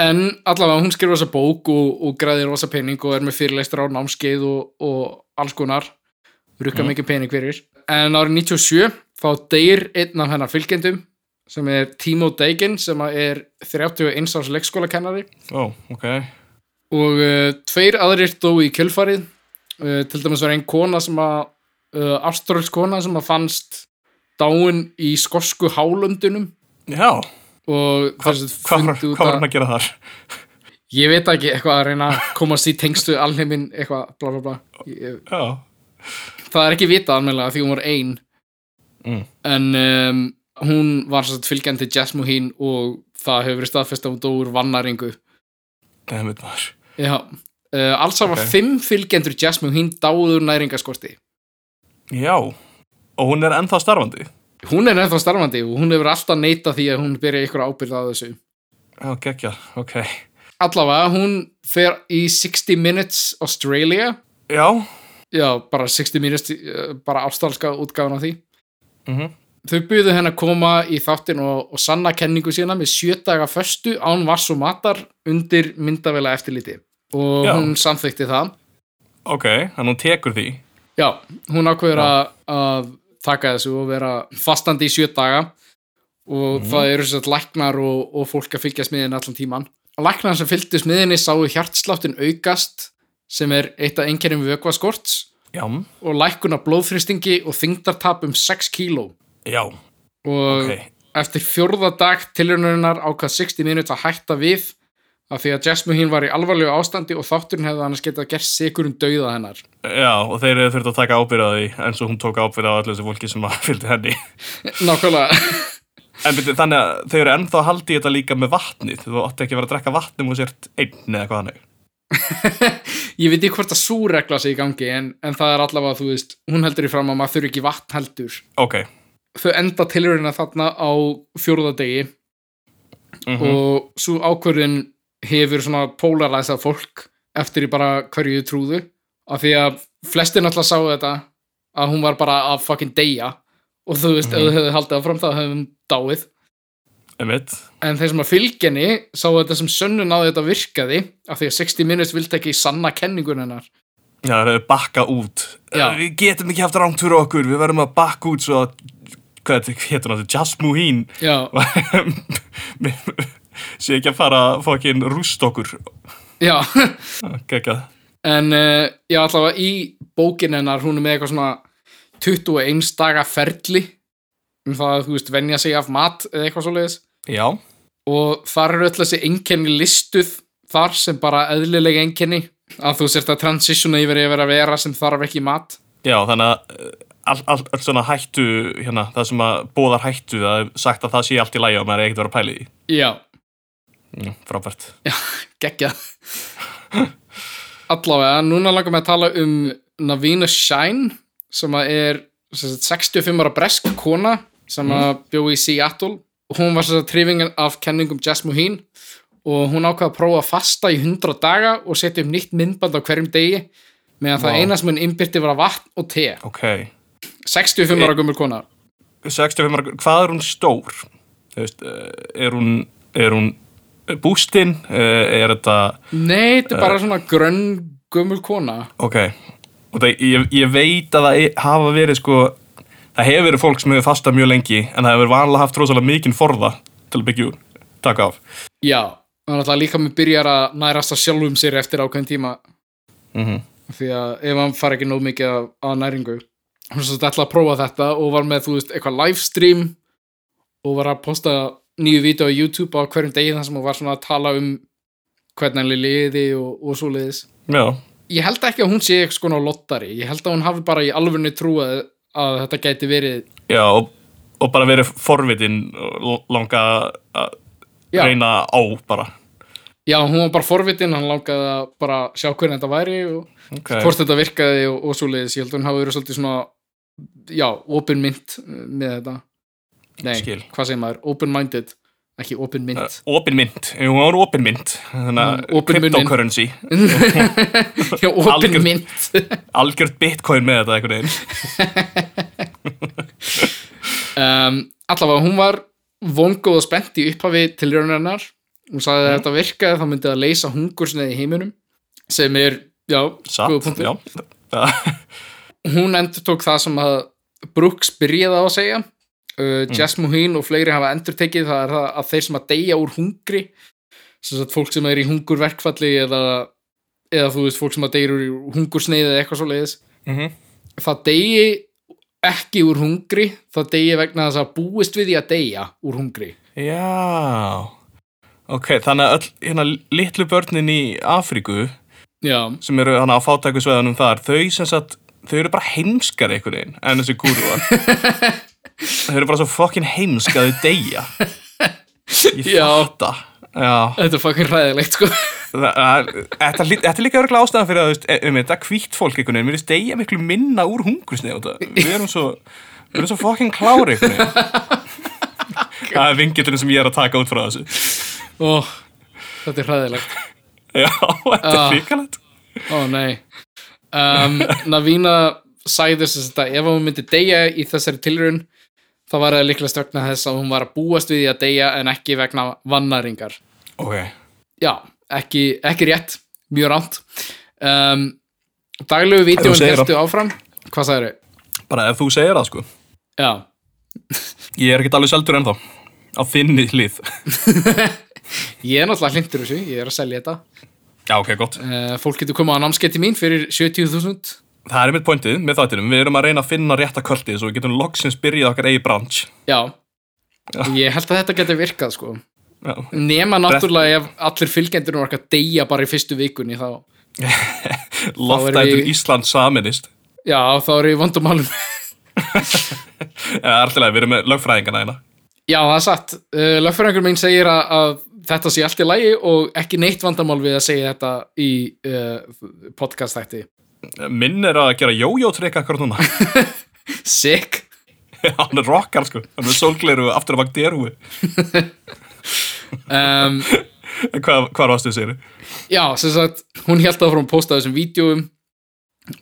en allavega hún skrifa þessa bók og, og græðir rosa pening og er með fyrirleistur á námskeið og, og alls konar rukka mikið pening fyrir en árið 97 þá deyr einn af hennar fylgjendum sem er Timo Deigen sem að er 31 árs leikskólakennari Ó, ok. og uh, tveir aðrir dó í kjölfarið uh, til dæmis var einn kona sem að uh, ástralsk kona sem að fannst dáin í skosku hálöndunum Já, og þessi hvað var, fundu út hvað var að- hann að gera þar? Ég veit ekki, eitthvað að reyna að komast í tengstu alheiminn, eitthvað, bla bla bla. Ég, Já, það er ekki vitað almennilega því hún var ein. Mm. En um, hún var satt fylgjandi Jasmuhín og það hefur verið staðfest að hún dóur vannaringu. það myndi maður. Já, uh, alls hafa Ok. fimm fylgjendur Jasmuhín dáður næringaskorti. Já, og hún er ennþá starfandi. Hún er ennþá starfandi og hún hefur alltaf neitað því að hún byrja ykkur ábyrða á þessu. Já, geggja, ok. Allavega, hún fer í 60 Minutes Australia. Já, Já, bara 60 Minutes, eh, bara ástralska útgáðan á því. mhm. Þau byggðu henn að koma í þáttin og, og sanna kenningu sína með sjö daga föstu án vass og matar undir myndavela eftirliti. Og Já. hún samþykti það. ok, þannig hún tekur því. Já, hún ákveður að- að taka þessu og vera fastandi í sjö daga og það eru sér læknar og, og fólk að fylgja smiðin allan tíman. Læknar sem fylgdu smiðinni sáu hjartsláttin aukast sem er eitt af einhverjum vökvaskorts Já, og lækkun af blóðþristingi og þyngdartap um 6 kíló. já, Og ok. Eftir fjórða dag tilraunarinnar ákvað 60 minutes að hætta við af því að Jasmuhín var í alvarlegu ástandi og þátturinn hefði annars getað gert sigur um dauða hennar. Já, og þeir eru þurft að taka ábyrða því eins og hún tók ábyrða á allir þessu fólki sem að fylgdi henni. Nákvæmlega, En byrju, þannig að þau eru ennþá að haldi þetta líka með vatnið. Þú átti ekki að vera að drekka vatnum og sért einn eða hvað hann er. ég veit ekki hvort að sú regla sé í gangi en, en það er allavega, þú veist, hún heldur í fram að maður þurfi ekki vatn heldur. Ok. Þau enda tilraunina þarna á fjórða degi Mm og svo ákvörðin hefur svona polarizað fólk eftir í bara hverju þau trúðu af því að flestir náttúrulega sáu þetta að hún var bara að fucking deyja og þú veist, ef þú hefði haldið áfram þá hefðum dáið Emitt. en þeir sem að fylgjenni sáu þetta sem sönnun á að þetta virkaði af því að 60 Minutes vildi ekki sanna kenningun hennar Já, það eru bakka út. Já. Við getum ekki haft rangt fyrir okkur. Við verðum að bakka út svo að, hvað þetta hétt hann aftur, Jasmuhín. já, Sér ekki að fara að fokkin rúst okkur. já Gekka. en uh, já, allavega í bókin hennar hún er með eitthvað svona 21 daga ferli um það að þú veist, venja sig af mat eða eitthvað svoleiðis Já. og þar eru öll þessi einkenni listuð þar sem bara eðlilega einkenni að þú sért að transitiona yfir yfir að vera sem þarf ekki mat Já, þannig að eh, all, all, all svona hættu, hérna, það sem að bóðar hættu, það er sagt að það sé allt í lægi og maður er ekkert að vera að pæli því. já, Mm, frábært. geggja allavega, núna langar mig að tala um Navina Shine sem að er sem sagt, 65 ára bresk kona sem að bjó í Seattle hún var sem sagt trifingin af kenningum Jasmuhín og hún ákvað að prófa að fasta í 100 daga og setja upp nýtt myndband á hverjum degi meðan það Vá. eina sem hún innbyrti var vatn og te Ok. 65 ára gömur kona 65 ára, hvað er hún stór? Þú veist, eh, er hún, er hún bústinn? Eh, Er þetta, Nei, þetta er bara svona grönn gömul kona. ok, og það, ég, ég veit að það e- hafa verið sko, það hefur verið fólk sem hefur fastað mjög lengi en það hefur vanlega haft rosalega mikinn forða til að byggja úr, taka af. Já, þannig að það líka með byrjar að nærast að sjálfum sér eftir ákveðin tíma Mm Mhm. því að ef hann far ekki nóg mikið af, af næringu hann svo ætla að prófa þetta og var með, þú veist, eitthvað livestream og var að posta nýju vídeo á YouTube á hverjum degi þar sem hann var svona að tala um hvernig hann liði og, og svo liðis Já, ég held ekki að hún sé eitthvað skona lottari ég held að hún hafi bara í alvörni trúið að þetta gæti verið já og, og bara verið forvitin og langa að Já. reyna á bara. já, hún var bara forvitin, hann langaði að bara sjá hvernig þetta væri og Okay. hvort þetta virkaði og, og svo leiðis, ég held að hún hafi verið svolítið svona já, open mint með þetta nei, Skil. hvað segir maður, open minded ekki open mint eh, Opin mynd, hún var opin mynd þannig Mm, að opin munnin. cryptocurrency já, open Algjör- mint algjört bitcoin með þetta einhvern veginn um, allavega, hún var vongóð og spennt í upphafi til raunarinnar hún sagði að þetta virkaði, þá myndi það leysa hungursneið í heiminum sem er, já, góður satt, punktur. já Það- hún endur tók það sem að Brooks byrjaði á að segja uh, Jess Mohin og fleiri hafa endur tekið það er það að þeir sem að deyja úr hungri sem sagt fólk sem er í hungurverkfalli eða, eða þú veist fólk sem að deyja úr hungursneiði eða eitthvað svo leiðis Mhm. það deyji ekki úr hungri það deyji vegna þess að búist við því að deyja úr hungri já ok, þannig að öll hérna litlu börnin í Afríku já, sem eru hann á fátæku sveðanum þar þau sem sagt, þau eru bara heimskar einhvern veginn en þessi gúruar þau eru bara svo fokkin heimsk að þau deyja ég Já. fatta já þetta er fucking ræðilegt sko Það- það- Þetta lít- þetta er líka örgulega ástæðan fyrir að þú veist, e- um þetta kvítt fólk einhvern veginn, mér veist deyja miklu minna úr hungusnið við erum svo við erum svo fokkin klári einhvern veginn það er vingillin sem ég er að taka út frá þessu Ó, þetta er ræðilegt já, þetta Ah. er fíkalegt Ó nei um, Navína sagði þess að ef hún myndi deyja í þessari tilraun þá var það líklega stökna þess að hún var að búast við því að deyja en ekki vegna vannaringar ok, Já, ekki, ekki rétt mjög rámt um, Daglegu Ef þú vídjóin segir heldur áfram Hvað sagði þau? bara ef þú segir það sko Já, ég er ekkert alveg seldur ennþá á þinni hlið ég er náttúrulega hlindur þessu, ég er að selja þetta já, ok, gott uh, Fólk getur komað á námskeiti mín fyrir 70.000 það er mitt pointið með þáttinum, við erum að reyna að finna rétta kvöldið svo við getum loksins byrjað okkar eigi branch Já, ég held að þetta geti virkað sko já, nema náttúrulega ef allir fylgjendur okkar deyja bara í fyrstu vikunni þá, loftætur við- Ísland saminist já, þá eru við vandumálum eða alltaf, Eh, við erum með lögfræðingana hérna já, það er satt, uh, lögfræðingur minn segir að, að þetta sé allt í lagi og ekki neitt vandamál við að segja þetta í uh, podcast þætti Minn er að gera jójótrykk akkur núna sick Hann er rockar sko Hann er með sólgleru og aftur að bak derúi um, Hvað, hvað varstu þið sér? já, sem sagt, hún held að frá að posta þessum vídjóum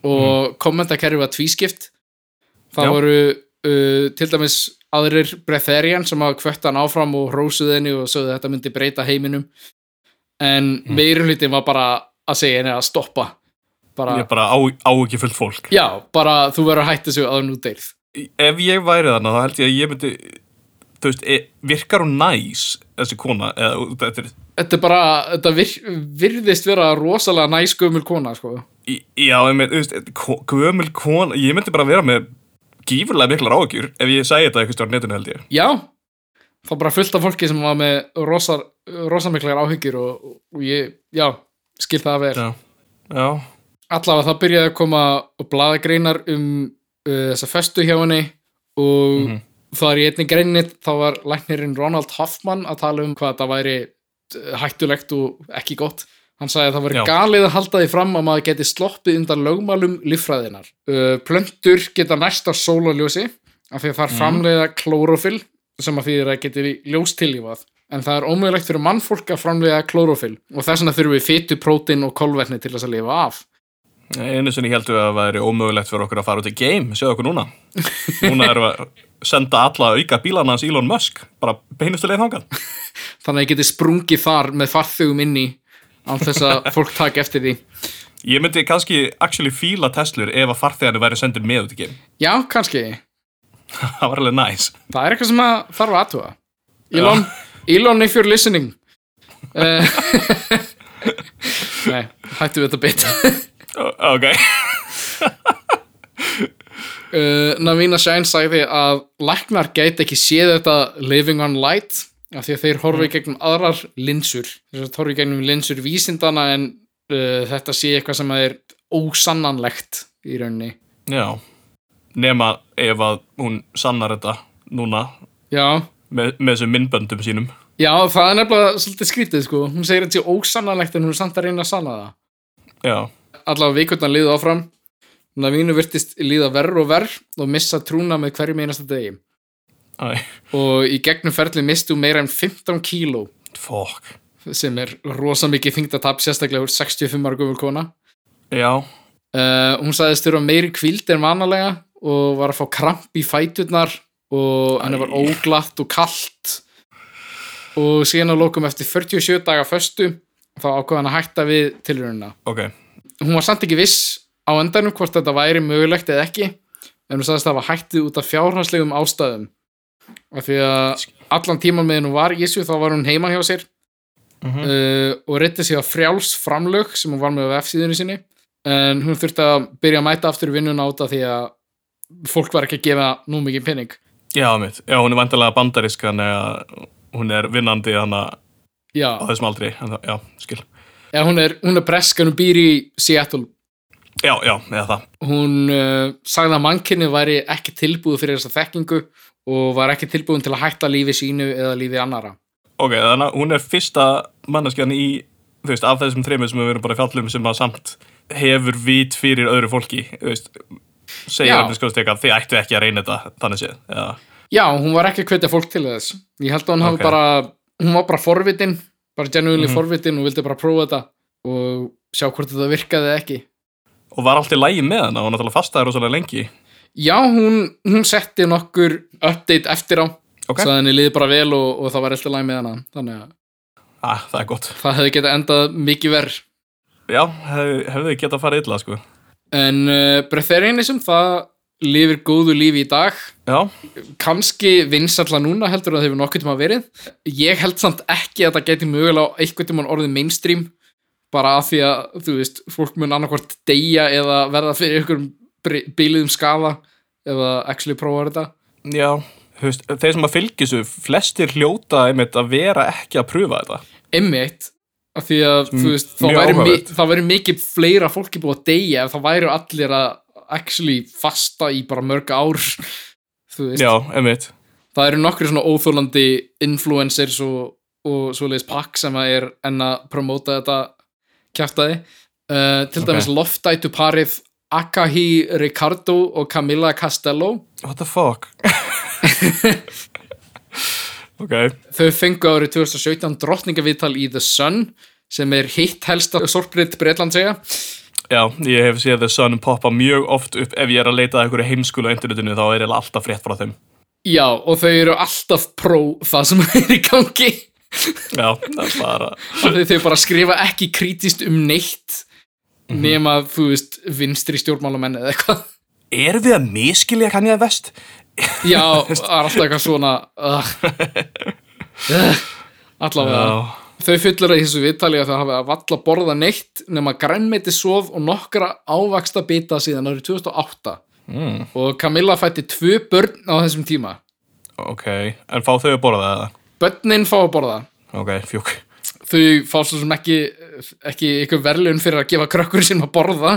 og mm. kommentakerfi var tvískipt það Já. voru uh, til dæmis aðrir breatharian sem hafa kvött hann áfram og rósuð henni og sögðu að þetta myndi breyta heiminum en mm. meirulítin var bara að segja henni að stoppa bara, Ég er bara á, á ekki fullt fólk já, bara þú verður að hætta þessu að nú deyrð Ef ég væri þarna þá held ég að ég myndi Þú veist, e, virkar hún næs Þessi kona eða, þetta er, þetta er bara, þetta vir, virðist vera rosalega næskumul kona sko. í- Já, ég með, þú veist ko- Gömul kona, ég myndi bara vera með Gífurlega miklar áhugjur Ef ég segi þetta eitthvað stjórn netinu held ég já þá bara fullt af fólki sem var með rosar, rosamiklar áhyggjur og, og ég, já, skil það að vera Já, já, allavega það byrjaði að koma bladagreinar um uh, þessa festu hjá henni og mm það er í einni greinni þá var læknirinn Ronald Hoffman að tala um hvað það væri eh, hættulegt og ekki gott hann sagði að það væri Já. galið að halda því fram að maður geti sloppið undan lögmálum líffræðinar uh, plöntur geta næst á sólaljósi af því að það er framleiða klórófyll sem að því að geti ljós tilífað en það er ómögulegt fyrir mannfólk að framleiða klórófyll og þess vegna þurfum við fytu, prótin og kolvetni til þess að lifa af Einu sinni heldum við að það væri ómögulegt fyrir okkur að fara út í game, sjáðu okkur núna. Núna erum við að senda alla auka bílana hans Elon Musk, bara beinustu leið þangað. þannig að ég geti sprungið þar með farþugum inni án þess að fólk taki eftir því Ég myndi kannski actually fíla Teslur ef að farþegarnir væri sendir með út í game. já, kannski, það var alveg næs. það er eitthvað sem að þarf að aðtúa Elon, Elon if you're listening uh, nei, hættu við þetta bit O- Ok, uh, Navina Shine sagði að læknar gæti ekki séð þetta living on light af því að þeir horfi gegnum aðrar linsur þess að horfi gegnum linsur vísindana en uh, þetta sé eitthvað sem er ósannanlegt í rauninni já. Nema ef að hún sannar þetta núna já, með, með þessum myndböndum sínum. já það er nefnilega svolítið skrítið sko hún segir þetta sé ósannanlegt en hún er samt að reyna að sanna það Já, allavega vikurnar liðu áfram Navinu virtist líða verð og verð og missa trúna með hverjum einasta degi æ, og í gegnum ferli mistu meira en 15 kíló fokk. sem er rosa mikið þingdatap sérstaklega úr 65 ára gufur kona Já, uh, hún sagðist þurfa meiri kvíld en vanalega og var að fá kramp í fæturnar og henni var óglatt og kalt og síðan að lokum eftir 47 daga föstu þá ákvað hann að hætta við tilraunina ok. hún var samt ekki viss á endanum hvort þetta væri mögulegt eða ekki en hún sagðist að það var hættið út af fjárhanslegum ástæðum af því að allan tíman meðan hún var í þessu þá var hún heima hjá sér Mhm. uh, og reytti sig á fráls framlög sem hún var með á F-síðunni sinni en hún þurfti að byrja að mæta aftur í vinnuna út af því að fólk var ekki að gefa nú mikið pening Já, mitt. Já, hún er vantilega bandarísk, hann er, hún er vinnandi hann á já, þessum aldri. En það, já, skil. eða hún er, hún er bresk en hún býr í Seattle Já, já, eða það. hún uh, sagði að mannkinni væri ekki tilbúið fyrir þessa þekkingu og var ekki tilbúin til að hætta lífi sínu eða lífi annara. Ok, þannig að hún er fyrsta manneskjan í, þú veist, af þessum þreymur sem við erum bara í fjallum sem að samt hefur vít fyrir öðru fólki, þú veist, segir Já. hann skoðast eitthvað, þið ættu ekki að reyna þetta, þannig séð. Já, Já, hún var ekki að hvetja fólk til þess. Ég held að hún hafi Ok. bara, hún var bara forvitin, bara genuinely forvitin og vildi bara prófa þetta og sjá hvort þetta virkaði eða ekki. og var allt í lægi með hann, hún náttúrulega fastaði rosalega lengi. Já, hún, hún setti nokkur update eftir á, Ok, svo að henni liði bara vel og, og það var alltaf læg með hana. Þannig að ah, það er gott. það hefði getað endað mikið verð. Já, hef, hefði getað farið illa, sko. En uh, breatharianism, það lifir góðu lífi í dag. Já, kannski vinsalla núna heldur en það hefur nokkuð tíma verið ég held samt ekki að það geti mögulega á einhvern tímann orðið mainstream bara af því að, þú veist, fólk mun annarkvort deyja eða verða fyrir einhverjum bíliðum skafa eða actually prófa þetta já. Þú veist, þeir sem að fylgisu, flestir hljóta einmitt að vera ekki að pröfa þetta. einmitt, af því að, þú veist mjög það væri, mi áhugavert. það væri mikið fleira fólki búið að deyja ef það væri allir að actually fasta í bara mörg ár þú veist, Já, einmitt. það eru nokkri svona óþólandi influencers og, og svoleiðis pakk sem að er enn að promóta þetta kjartaði uh, til Ok. dæmis loftætu parið Akahi Ricardo og Camilla Castello What the fuck? ok, þau fengu árið 2017 drottningaviðtal í The Sun sem er hitt helsta sorprið Breitland segja já, ég hef séð The Sun poppa mjög oft upp ef ég er að leita að einhverju heimskulu á internetinu þá er ég alltaf frétt frá þeim. já og þau eru alltaf pró það sem er í gangi Já, það er bara, af því þau bara skrifa ekki krítist um neitt nema þú veist vinstri stjórnmálamenn eða eitthvað erum við að miskilja kann ég að vest? Já, það er alltaf eitthvað svona uh, uh, Allavega Þau fullir að í þessu viðtali að þau hafa að valla borða neitt nema grænmeti sof og nokkra ávaxta bita síðan árið 2008 Mm, og Camilla fætti tvö börn á þessum tíma ok, en fá þau að borða það? Börnin fá að borða Ok, fjúk. Þau fá svo sem ekki, ekki ykkur verðlun fyrir að gefa krökkur sem að borða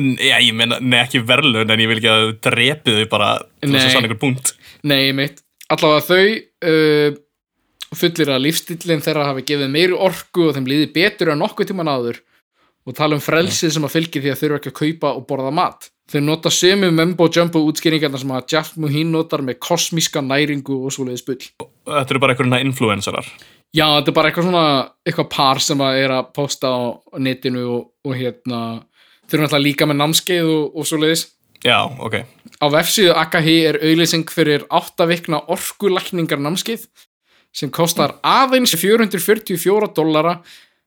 N- Já, ég meina, nei ekki verðlun en ég vil ekki að þau drepið þau bara til þess Nei. að sann einhver punkt. Nei, mitt. Allavega þau uh, fullir að lífstillin þeirra hafi gefið meiri orku og þeim líði betur en nokkuð tíman áður og tala um frelsið sem að fylgir því að þurfa ekki að kaupa og borða mat. Þau nota sömu mumbo jumbo útskýringarna sem að Jeff Muhin notar með kosmíska næringu og svoleiðis bull. Þetta eru bara einhverjuna influencerar. Já, þetta er bara eitthvað svona, eitthvað par sem að er að posta á netinu og, og hérna þau eru náttúrulega líka með námskeið og, og svo leiðis Já, ok. á vefsíðu AKHI er auðlýsing fyrir 8 vikna orkulækningar námskeið sem kostar aðeins 444 dollara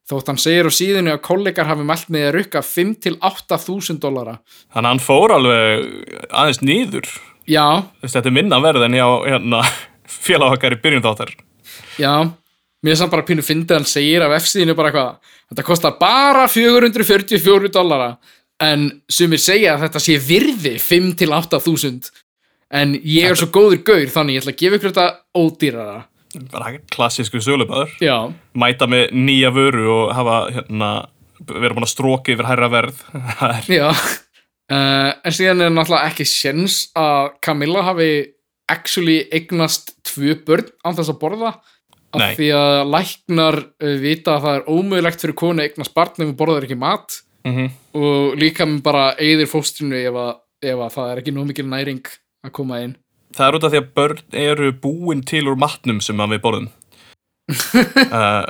þótt hann segir á síðinu að kollegar hafi mælt með að rukka 5-8 þúsund dollara Þannig að hann fór alveg aðeins nýður. já, Þetta er minna verð en hjá hérna, félag okkar í byrjun þáttar. Já, mér er samt bara pínu fyndið að hann segir af F-síðinu bara eitthvað þetta kostar bara 444 dollara en sumir segja að þetta sé virði 5-8 þúsund en ég er svo góður gaur þannig ég ætla að gefa ykkur þetta ódýrara Bara klassísku sölubæður. Já, Mæta með nýja vöru og hafa hérna, vera búin að stróki yfir hærra verð. Það er- já uh, en síðan er náttúrulega ekki séns að Camilla hafi actually eignast tvö börn án þess að borða af Nei. því að læknar uh, vita að það er ómögulegt fyrir konu að eignast barn ef hún borðar ekki mat Mhm. og líka með bara eigðir fóstrinu ef að, ef að það er ekki nóg mikil næring að koma inn Það er út af því að börn eru búin til úr matnum sem að við borðum. uh,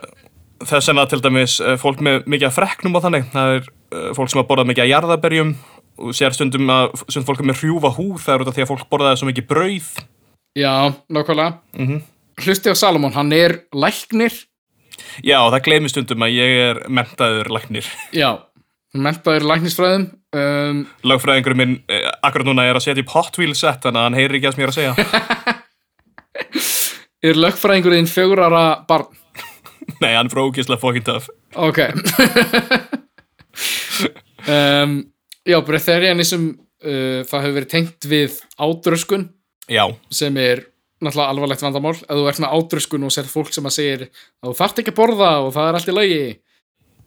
þess vegna til dæmis eh, fólk með mikið af freknum og þannig. Það er uh, fólk sem að borða mikið af jarðaberjum og sér stundum að stundum fólk er með hrjúfa húð. Það er út af því að fólk borðaði svo mikið brauð. Já, nákvæmlega Mhm. Hlusti á Salomon, hann er læknir Já, það gleymi stundum að ég er mentaður læknir. Já, hann mentaður í læknisfræðum um, Lögfræðingurinn minn eh, akkurat núna er að setja upp Hot Wheels set þannig að hann heyrir ekki að sem ég er að segja. Er lögfræðingurinn fjögurara barn? Nei, hann er frá ógeðslega fokkin töf. Ok um, Já, breytherianism uh, það hefur verið tengt við ádröskun Já, sem er náttúrulega alvarlegt vandamál ef þú ert með ádröskun og sér fólk sem að segir að þú þarft ekki að borða og það er allt í lagi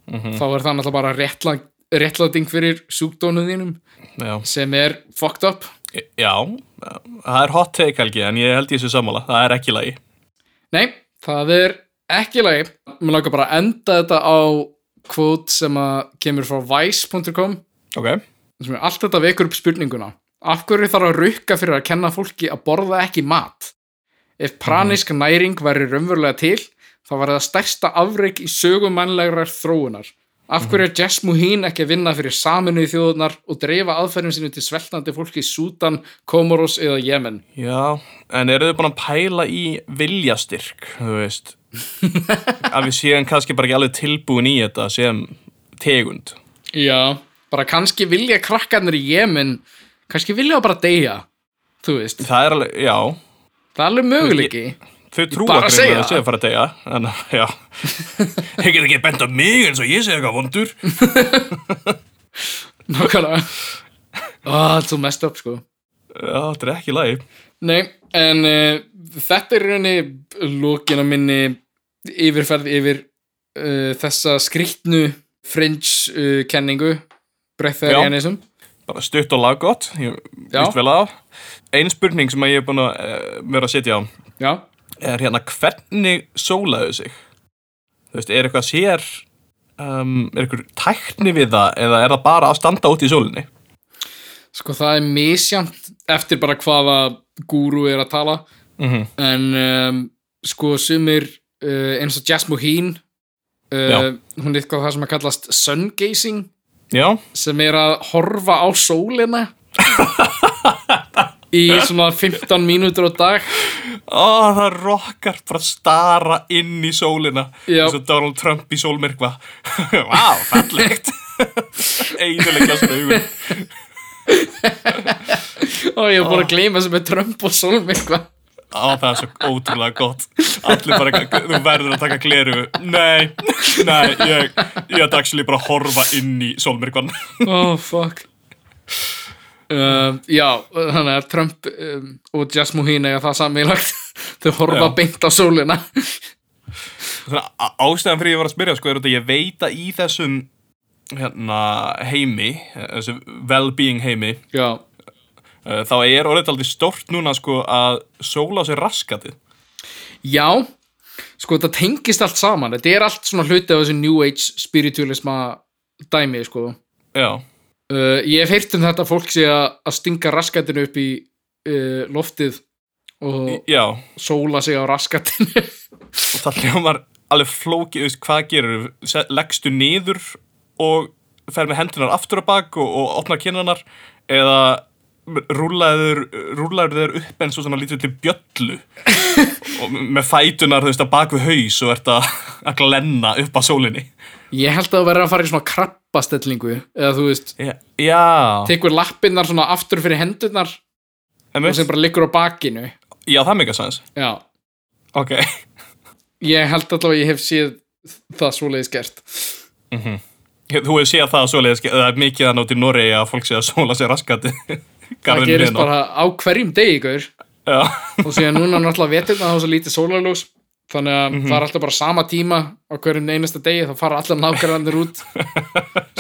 þá er það náttúrulega bara réttla, réttlating fyrir sjúkdónu þínum já, sem er fucked up Eh, já. Það er hot take, Helgi, en ég held ég þessu sammála. Það er ekki lagi. Nei, það er ekki í lagi Mér langar bara að enda þetta á kvót sem að kemur frá vice.com Ok. sem er allt þetta vekur upp spurninguna Af hverju þarf að rukka fyrir að kenna fólki að borða ekki mat? Ef pranisk næring væri raunverulega til þá var það stærsta afreik í sögumannlegrar þróunar Af hverju er Jess Muhin ekki að vinna fyrir saminuði þjóðunar og dreifa aðferðum sinu til sveltandi fólki í Súdan, Komoros eða Jemen? Já, en eru þau búin að pæla í viljastyrk, þú veist að við séum kannski bara ekki alveg tilbúin í þetta sem tegund Já, bara kannski vilja krakkarnir í Jemen, kannski vilja það bara deyja, þú veist. Það er alveg, já, Það er alveg möguleiki. þau trúa bara að segja að þau það. séu að fara að deyja en já, þau get ekki bent á mig eins og ég sé eitthvað vondur Nákvæmlega. Ó, það er svo mest upp, sko. Já, þetta er ekki lægi Nei, en uh, þetta er í rauninni lókin á minni yfirferð yfir uh, þessa skrýtnu fringe uh, kenningu, breyþarianism. bara stutt og laggott, ég Já. vist vel á Ein spurning sem að ég er búin að eh, vera að setja á Já. er hérna hvernig sólaðu sig þú veist, er eitthvað sér um, er eitthvað tækni við það eða er það bara að standa út í sólinni Sko það er misjant eftir bara hvaða gúru er að tala. mm -hmm. en um, sko sumir uh, eins og Jasmu Hín uh, Já. hún er eitthvað það sem að kallast sungazing já, sem er að horfa á sólina í svona 15 mínútur á dag Ó, það rokkar bara að stara inn í sólina Já. eins og Donald Trump í sólmerkva vá, fallegt eiginlega svona augun og ég er búin að gleyma sem er Trump og sólum eitthvað Á, það er svo ótrúlega gott Allir bara, eitthvað, þú verður að taka gleru Nei, nei, ég Ég ætti actually bara að horfa inn í sólmyrkvan oh fuck Uh, já, þannig að Trump um, og Jasmu Hín eiga það sammeilagt þau horfa Já. beint á sólina Svona, á- ástæðan fyrir ég var að spyrja sko er þetta ég veit að í þessum hérna, heimi þessum well-being heimi Já, uh, þá er orðið aldrei stórt núna sko að sóla á sig raskatið Já, sko þetta tengist allt saman Þetta er allt svona hluti af þessu New Age spiritualisma dæmi sko. já, uh, Ég hef heyrt um þetta að fólk sé að, að stinga raskatinu upp í uh, loftið og já og sóla sig á raskatinu það hljómar alveg flókið þú veist, hvað gerir, leggstu niður og fer með hendunar aftur á bak og, og opnar kynnanar eða rúlaður, rúlaður þeir upp eins og svona lítið til bjöllu og með fætunar þú veist að bak við haus og ert að, að glenna upp að sólinni Ég held að þú verður að fara í svona krabbastellingu eða þú veist, Já, já, tekur lappinnar svona aftur fyrir hendurnar og Einmitt. sem bara liggur á bakinu já það er mega sens Já, Ok, ég held allavega að ég hef séð það svoleiðis gert þú hefur séð það svoleiðis það er mikið að nátt í Noregi að fólk sé að sóla sér raskati Það gerist bara á hverjum degi, gaur Já, og síðan núna náttúrulega veturna þá er svo lítið sólarljós þannig að það er alltaf bara sama tíma á hverjum einasta degi, þá fara allar nákvæmlandir út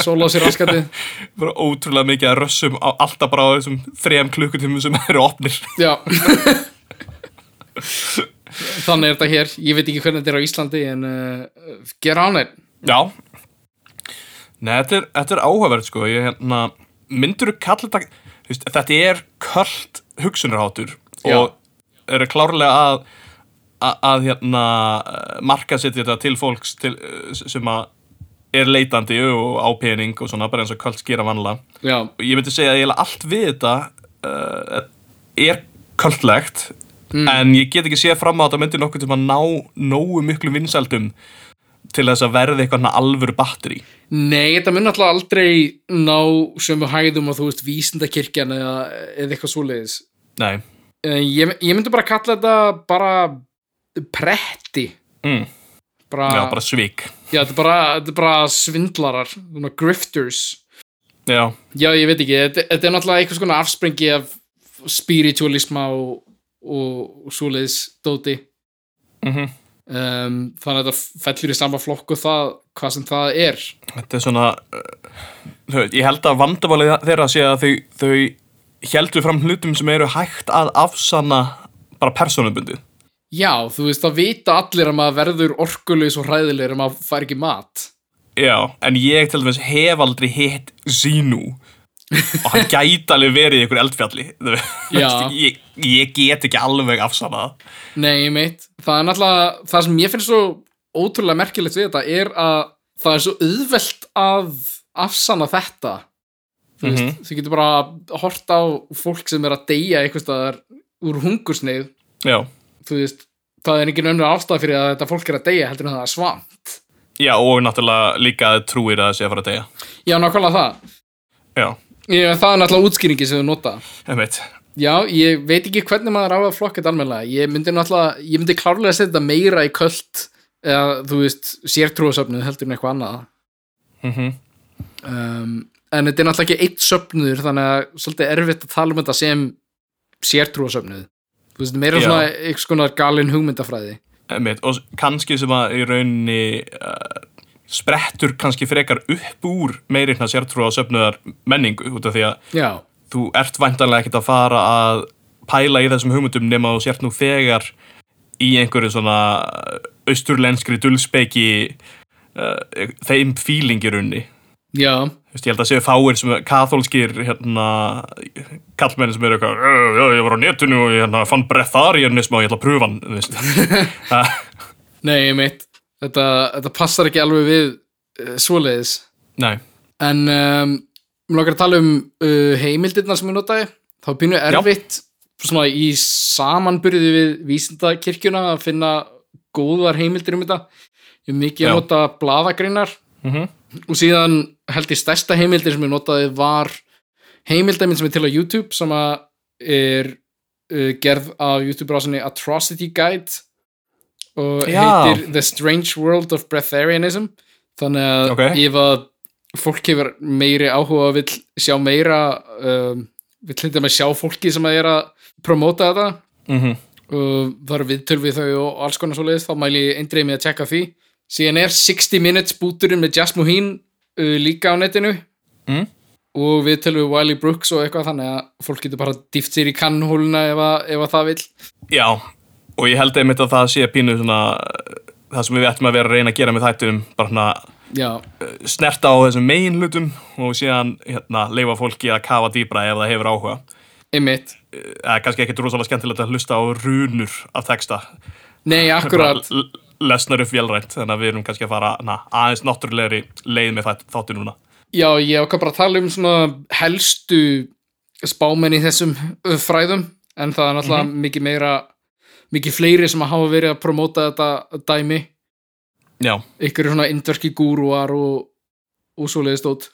sóla á sér raskatið bara ótrúlega mikið að rössum á, alltaf bara á þessum þrejum klukkutímum sem eru opnir já þannig er þetta hér, ég veit ekki hvernig þetta er á Íslandi en uh, gera ánæg Já Nei, þetta er, þetta er áhugaverð sko ég, hérna, myndur þú kalla þetta þú veist, þetta er kvöld hugsunarháttur Já. og eru klárlega að að, að hérna, marka sér þetta til fólks til, eh, sem að er leitandi og á pening og svona bara eins og kvöld skýra vanla já, og ég myndi segja að eiginlega allt við þetta uh, er kvöldlegt en ég get ekki séð fram á að þetta myndi nokkuð til að ná nógu miklu vinsældum til þess að verði eitthvað svona alvöru batteri nei, þetta mun alltaf aldrei ná sömu hæðum að þú veist vísindakirkjan eða, eða eitthvað svoleiðis Nei, Eh, ég, ég myndi bara kalla þetta bara pretti Mm. bara, já, bara svík Já, þetta er bara, þetta er bara svindlarar, svona grifters. Já, Já, ég veit ekki, þetta, þetta er náttúrulega einhvers konar afsprengi af spiritualisma og, og, og svoleiðis dóti. Mhm. um, þannig að þetta fellur í sama flokku það, hvað sem það er. þetta er svona uh, þú veit, ég held að vandaválið þeirra sé að þau, þau heldur fram hlutum sem eru hægt að afsanna bara persónubundi Já, þú veist, það vita allir um að maður verður orkulegs og hræðilegur að maður fær ekki mat. Já, en ég til dæmis hef aldrei hitt Zinu og hann gæti alveg verið í einhverju eldfjalli þú Já. veist, ég, ég get ekki alveg afsanað Nei, ég meitt. Það er náttúrulega, það sem ég finnst svo ótrúlega merkilegt við þetta er að það er svo auðvelt að afsanna þetta. Þú veist, þú getur bara hort á fólk sem er að deyja eitthvað staðar úr hungursneið. Já, Þú veist, það er engin önnur ástæð fyrir að þetta fólk er að deyja heldur en að það er svamp. Já og náttúrulega líka að trúir að það sé að fara að deyja Já, nákvæmlega það. Já, Ég, það er náttúrulega útskýringi sem við nota. einmitt Já, ég veit ekki hvernig maður á að flokka þetta almennilega. Ég myndi náttúrulega, ég myndi klárlega að setja þetta meira í költ eða, þú veist, sértrúasöfnuð heldur en eitthvað annað. mm um, en þetta er náttúrulega ekki eitt söfnuður þannig að svolítið erfitt að tala um þetta sem sértrúasöfnuð þú veist, meira Já. svona einhvers konar galin hugmyndafræði Einmitt, og kannski sem að í rauninni uh, sprettur kannski frekar upp úr meirinn að sértrú á söfnuðar menningu út af því að já, þú ert væntanlega ekkert að fara að pæla í þessum hugmyndum nema þú sért nú þegar í einhverju svona uh, austurlenskri dullspeki uh, þeim fílingir unni. já, Vist, ég held að séu fáir sem katholskir hérna, kallmenn sem eru eitthvað "Ö, já, ég var á netinu og ég hérna, fann brettarianism og ég ætla að pröfa hann þú veist. Það- nei, ég meitt þetta, þetta passar ekki alveg við uh, svoleiðis Nei, en um, mér langar að tala um uh, heimildirnar sem ég notaði þá býnum við erfitt svona í samanburði við vísindakirkjuna að finna góðar heimildir um þetta ég er mikið Já. að nota bladagreinar Mhm. og síðan held ég stærsta heimildir sem ég notaði var heimildaminn sem er til á YouTube sem að er uh, gerð af YouTube-brásinni Atrocity Guide og Já. heitir The Strange World of Breatharianism þannig að Ok. ef að fólk hefur meiri áhuga og vill sjá meira um, vill hlinda með sjá fólki sem að er að promóta þetta mm og það eru viðtöl við þau og alls konar svoleiðis, þá mæli ég eindreið með að tjekka því síðan er 60 Minutes búturinn með Jasmu Hín uh, líka á netinu Mm. og viðtöl við Wiley Brooks og eitthvað þannig að fólk getur bara dýft sér í kannhóluna ef, að- ef að það vill já og ég held einmitt að það sé pínu svona, eh, það sem við ættum að vera að reyna að gera með þættunum bara svona Já, snerta á þessum megin hlutum og síðan hérna, leifa fólki að kafa dýbra ef það hefur áhuga. einmitt Það er kannski ekkert rosalega skemmtilegt að hlusta á runur af texta. Nei, akkurat Bara l- Lesnar upp vélrænt, þannig að við erum kannski að fara na, aðeins náttúrulegri leið með þætt- þáttu núna. Já, ég okkar bara að tala um svona helstu spámenn í þessum ö, fræðum en það er náttúrulega mikið meira mikið fleiri sem hafa verið að promóta þetta dæmi Já, ykkur svona indverki gúruar og, og svo leiðistótt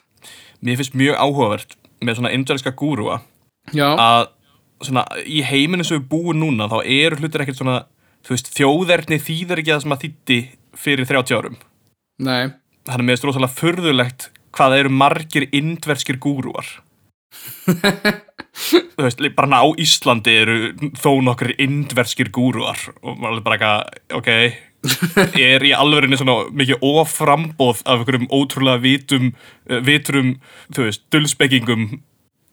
mér finnst mjög áhugavert með svona indverðska gúrua Já, að svona, í heiminu sem við búum núna þá eru hlutir ekkert svona þú veist, þjóðerni þýðir ekki það sem að þýtti fyrir 30 árum nei þannig að mér finnst rosalega furðulegt hvað það eru margir indverskir gúrúar þú veist, li- bara ná Íslandi eru þó nokkur indverskir gúrúar og maður er bara eitthvað, ok er í alverðinu svona mikið oframbóð af einhverjum ótrúlega vitum, eh, vitrum, þú veist, dulspekingum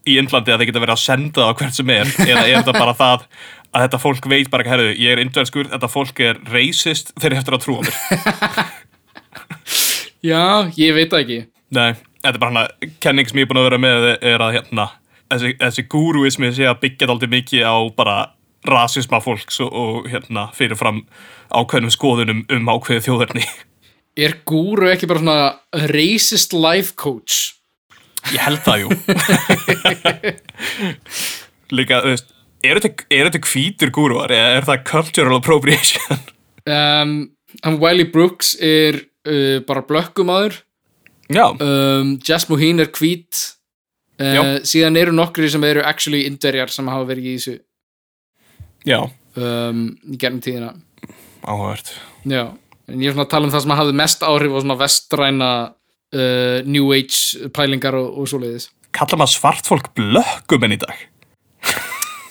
í Indlandi að þeir geta verið að senda það á hvert sem er eða er þetta bara það að þetta fólk veit bara, herðu, ég er indverskur, þetta fólk er racist, þeir eru eftir að trúa mér Já, ég veit það ekki Nei, þetta er bara hana kenning sem ég er búin að vera með er að hérna þessi, þessi gúruismi sé að byggja aldrei mikið á bara rasisma fólks og, og hérna fyrirfram ákveðnum skoðunum um ákveðið þjóðurni Er gúru ekki bara svona racist life coach? Ég held það jú Líka, þú veist eru þetta, er þetta hvítur gúruar eða er það cultural appropriation? Um, hann Wiley Brooks er uh, bara blökkumadur Já, um, Jess Mohin er hvít uh, Já. síðan eru nokkri sem eru actually indverjar sem hafa verið í þessu já, um, í gernum tíðina áhugavert Já, en ég er svona að tala um það sem hafði mest áhrif á svona vestræna uh, New Age pælingar og, og svoleiðis Kallar maður svart fólk blökkum enn í dag?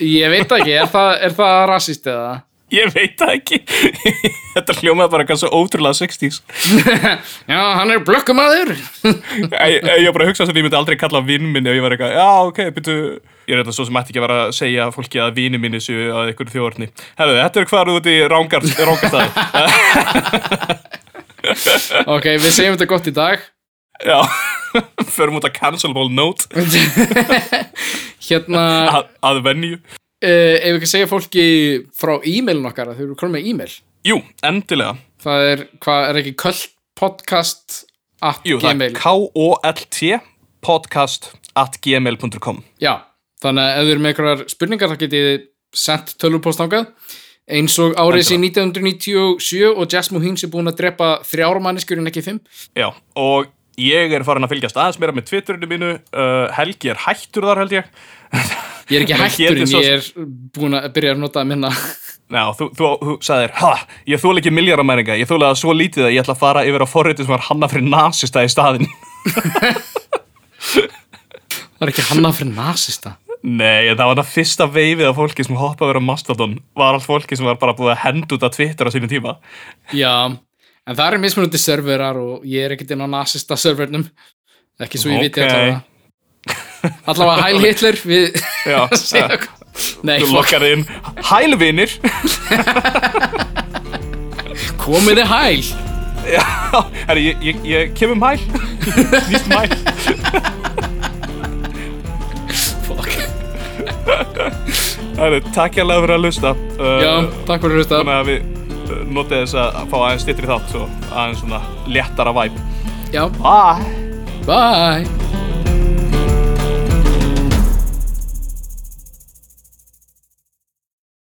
Ég veit það ekki, er það, er það rasist eða? Ég veit það ekki Þetta hljómaði bara eitthvað svo ótrúlega 60s Já, hann er blökkumadur Ég, ég var bara að hugsa sem ég myndi aldrei kalla vinn minn ef ég var eitthvað, já ok, byrju Ég er þetta svo sem ætti ekki að vera að segja fólki að vini minni séu að ykkur þjóðarni Herðu, þetta er hvað út í rángarstæði Ok, við segjum þetta gott í dag Já, förum út að cancelable note Hérna, uh, að, að venju ef við ekki segja þið frá e-mailin okkar að þau eru komin með e-mail Jú, endilega Það er, hvað, er ekki köllpodcast at Jú, það gmail er K-O-L-T podcast at gmail.com Já, þannig að ef þið eru með einhverjar spurningar þá getið þið sendt tölvupóst ángað eins og árið sín 1997 og Jasmu Hins er búin að drepa þrjár manneskjur en ekki fimm Já, og ég er farin að fylgjast aðeins meira með Twitterinu mínu uh, Helgi er hættur þar held ég Ég er ekki Menn hættur hétu en svo- ég er búin að byrja að nota að minna Já, þú, þú, þú sagðir, ha, ég þóla ekki miljaramæringa, ég þóla það svo lítið að ég ætla að fara yfir á forritið sem var hanna fyrir nasista í staðin. Það er ekki hanna fyrir nasista Nei, en það var það fyrsta veifið af fólki sem hoppaði yfir á Mastodon, var allt fólki sem var bara búið að henda út að Twitter á sínum tíma. Já, en það eru mismunandi serverar og ég er ekkert inn á nasista servernum ekki svo ég viti Ok. allavega allavega Heil Hitler við Já, segja Nei, þú fólk, lokkar inn, hælvinir, komið þið hæl herri, ég, ég, ég kem um hæl, nýst um hæl. Fuck. Herri, takk ég alveg fyrir að hlusta. Uh, Já, takk fyrir að hlusta Þannig að við uh, notið þess að fá aðeins styttri þátt og aðeins svona léttara væp. Já, Bye! bye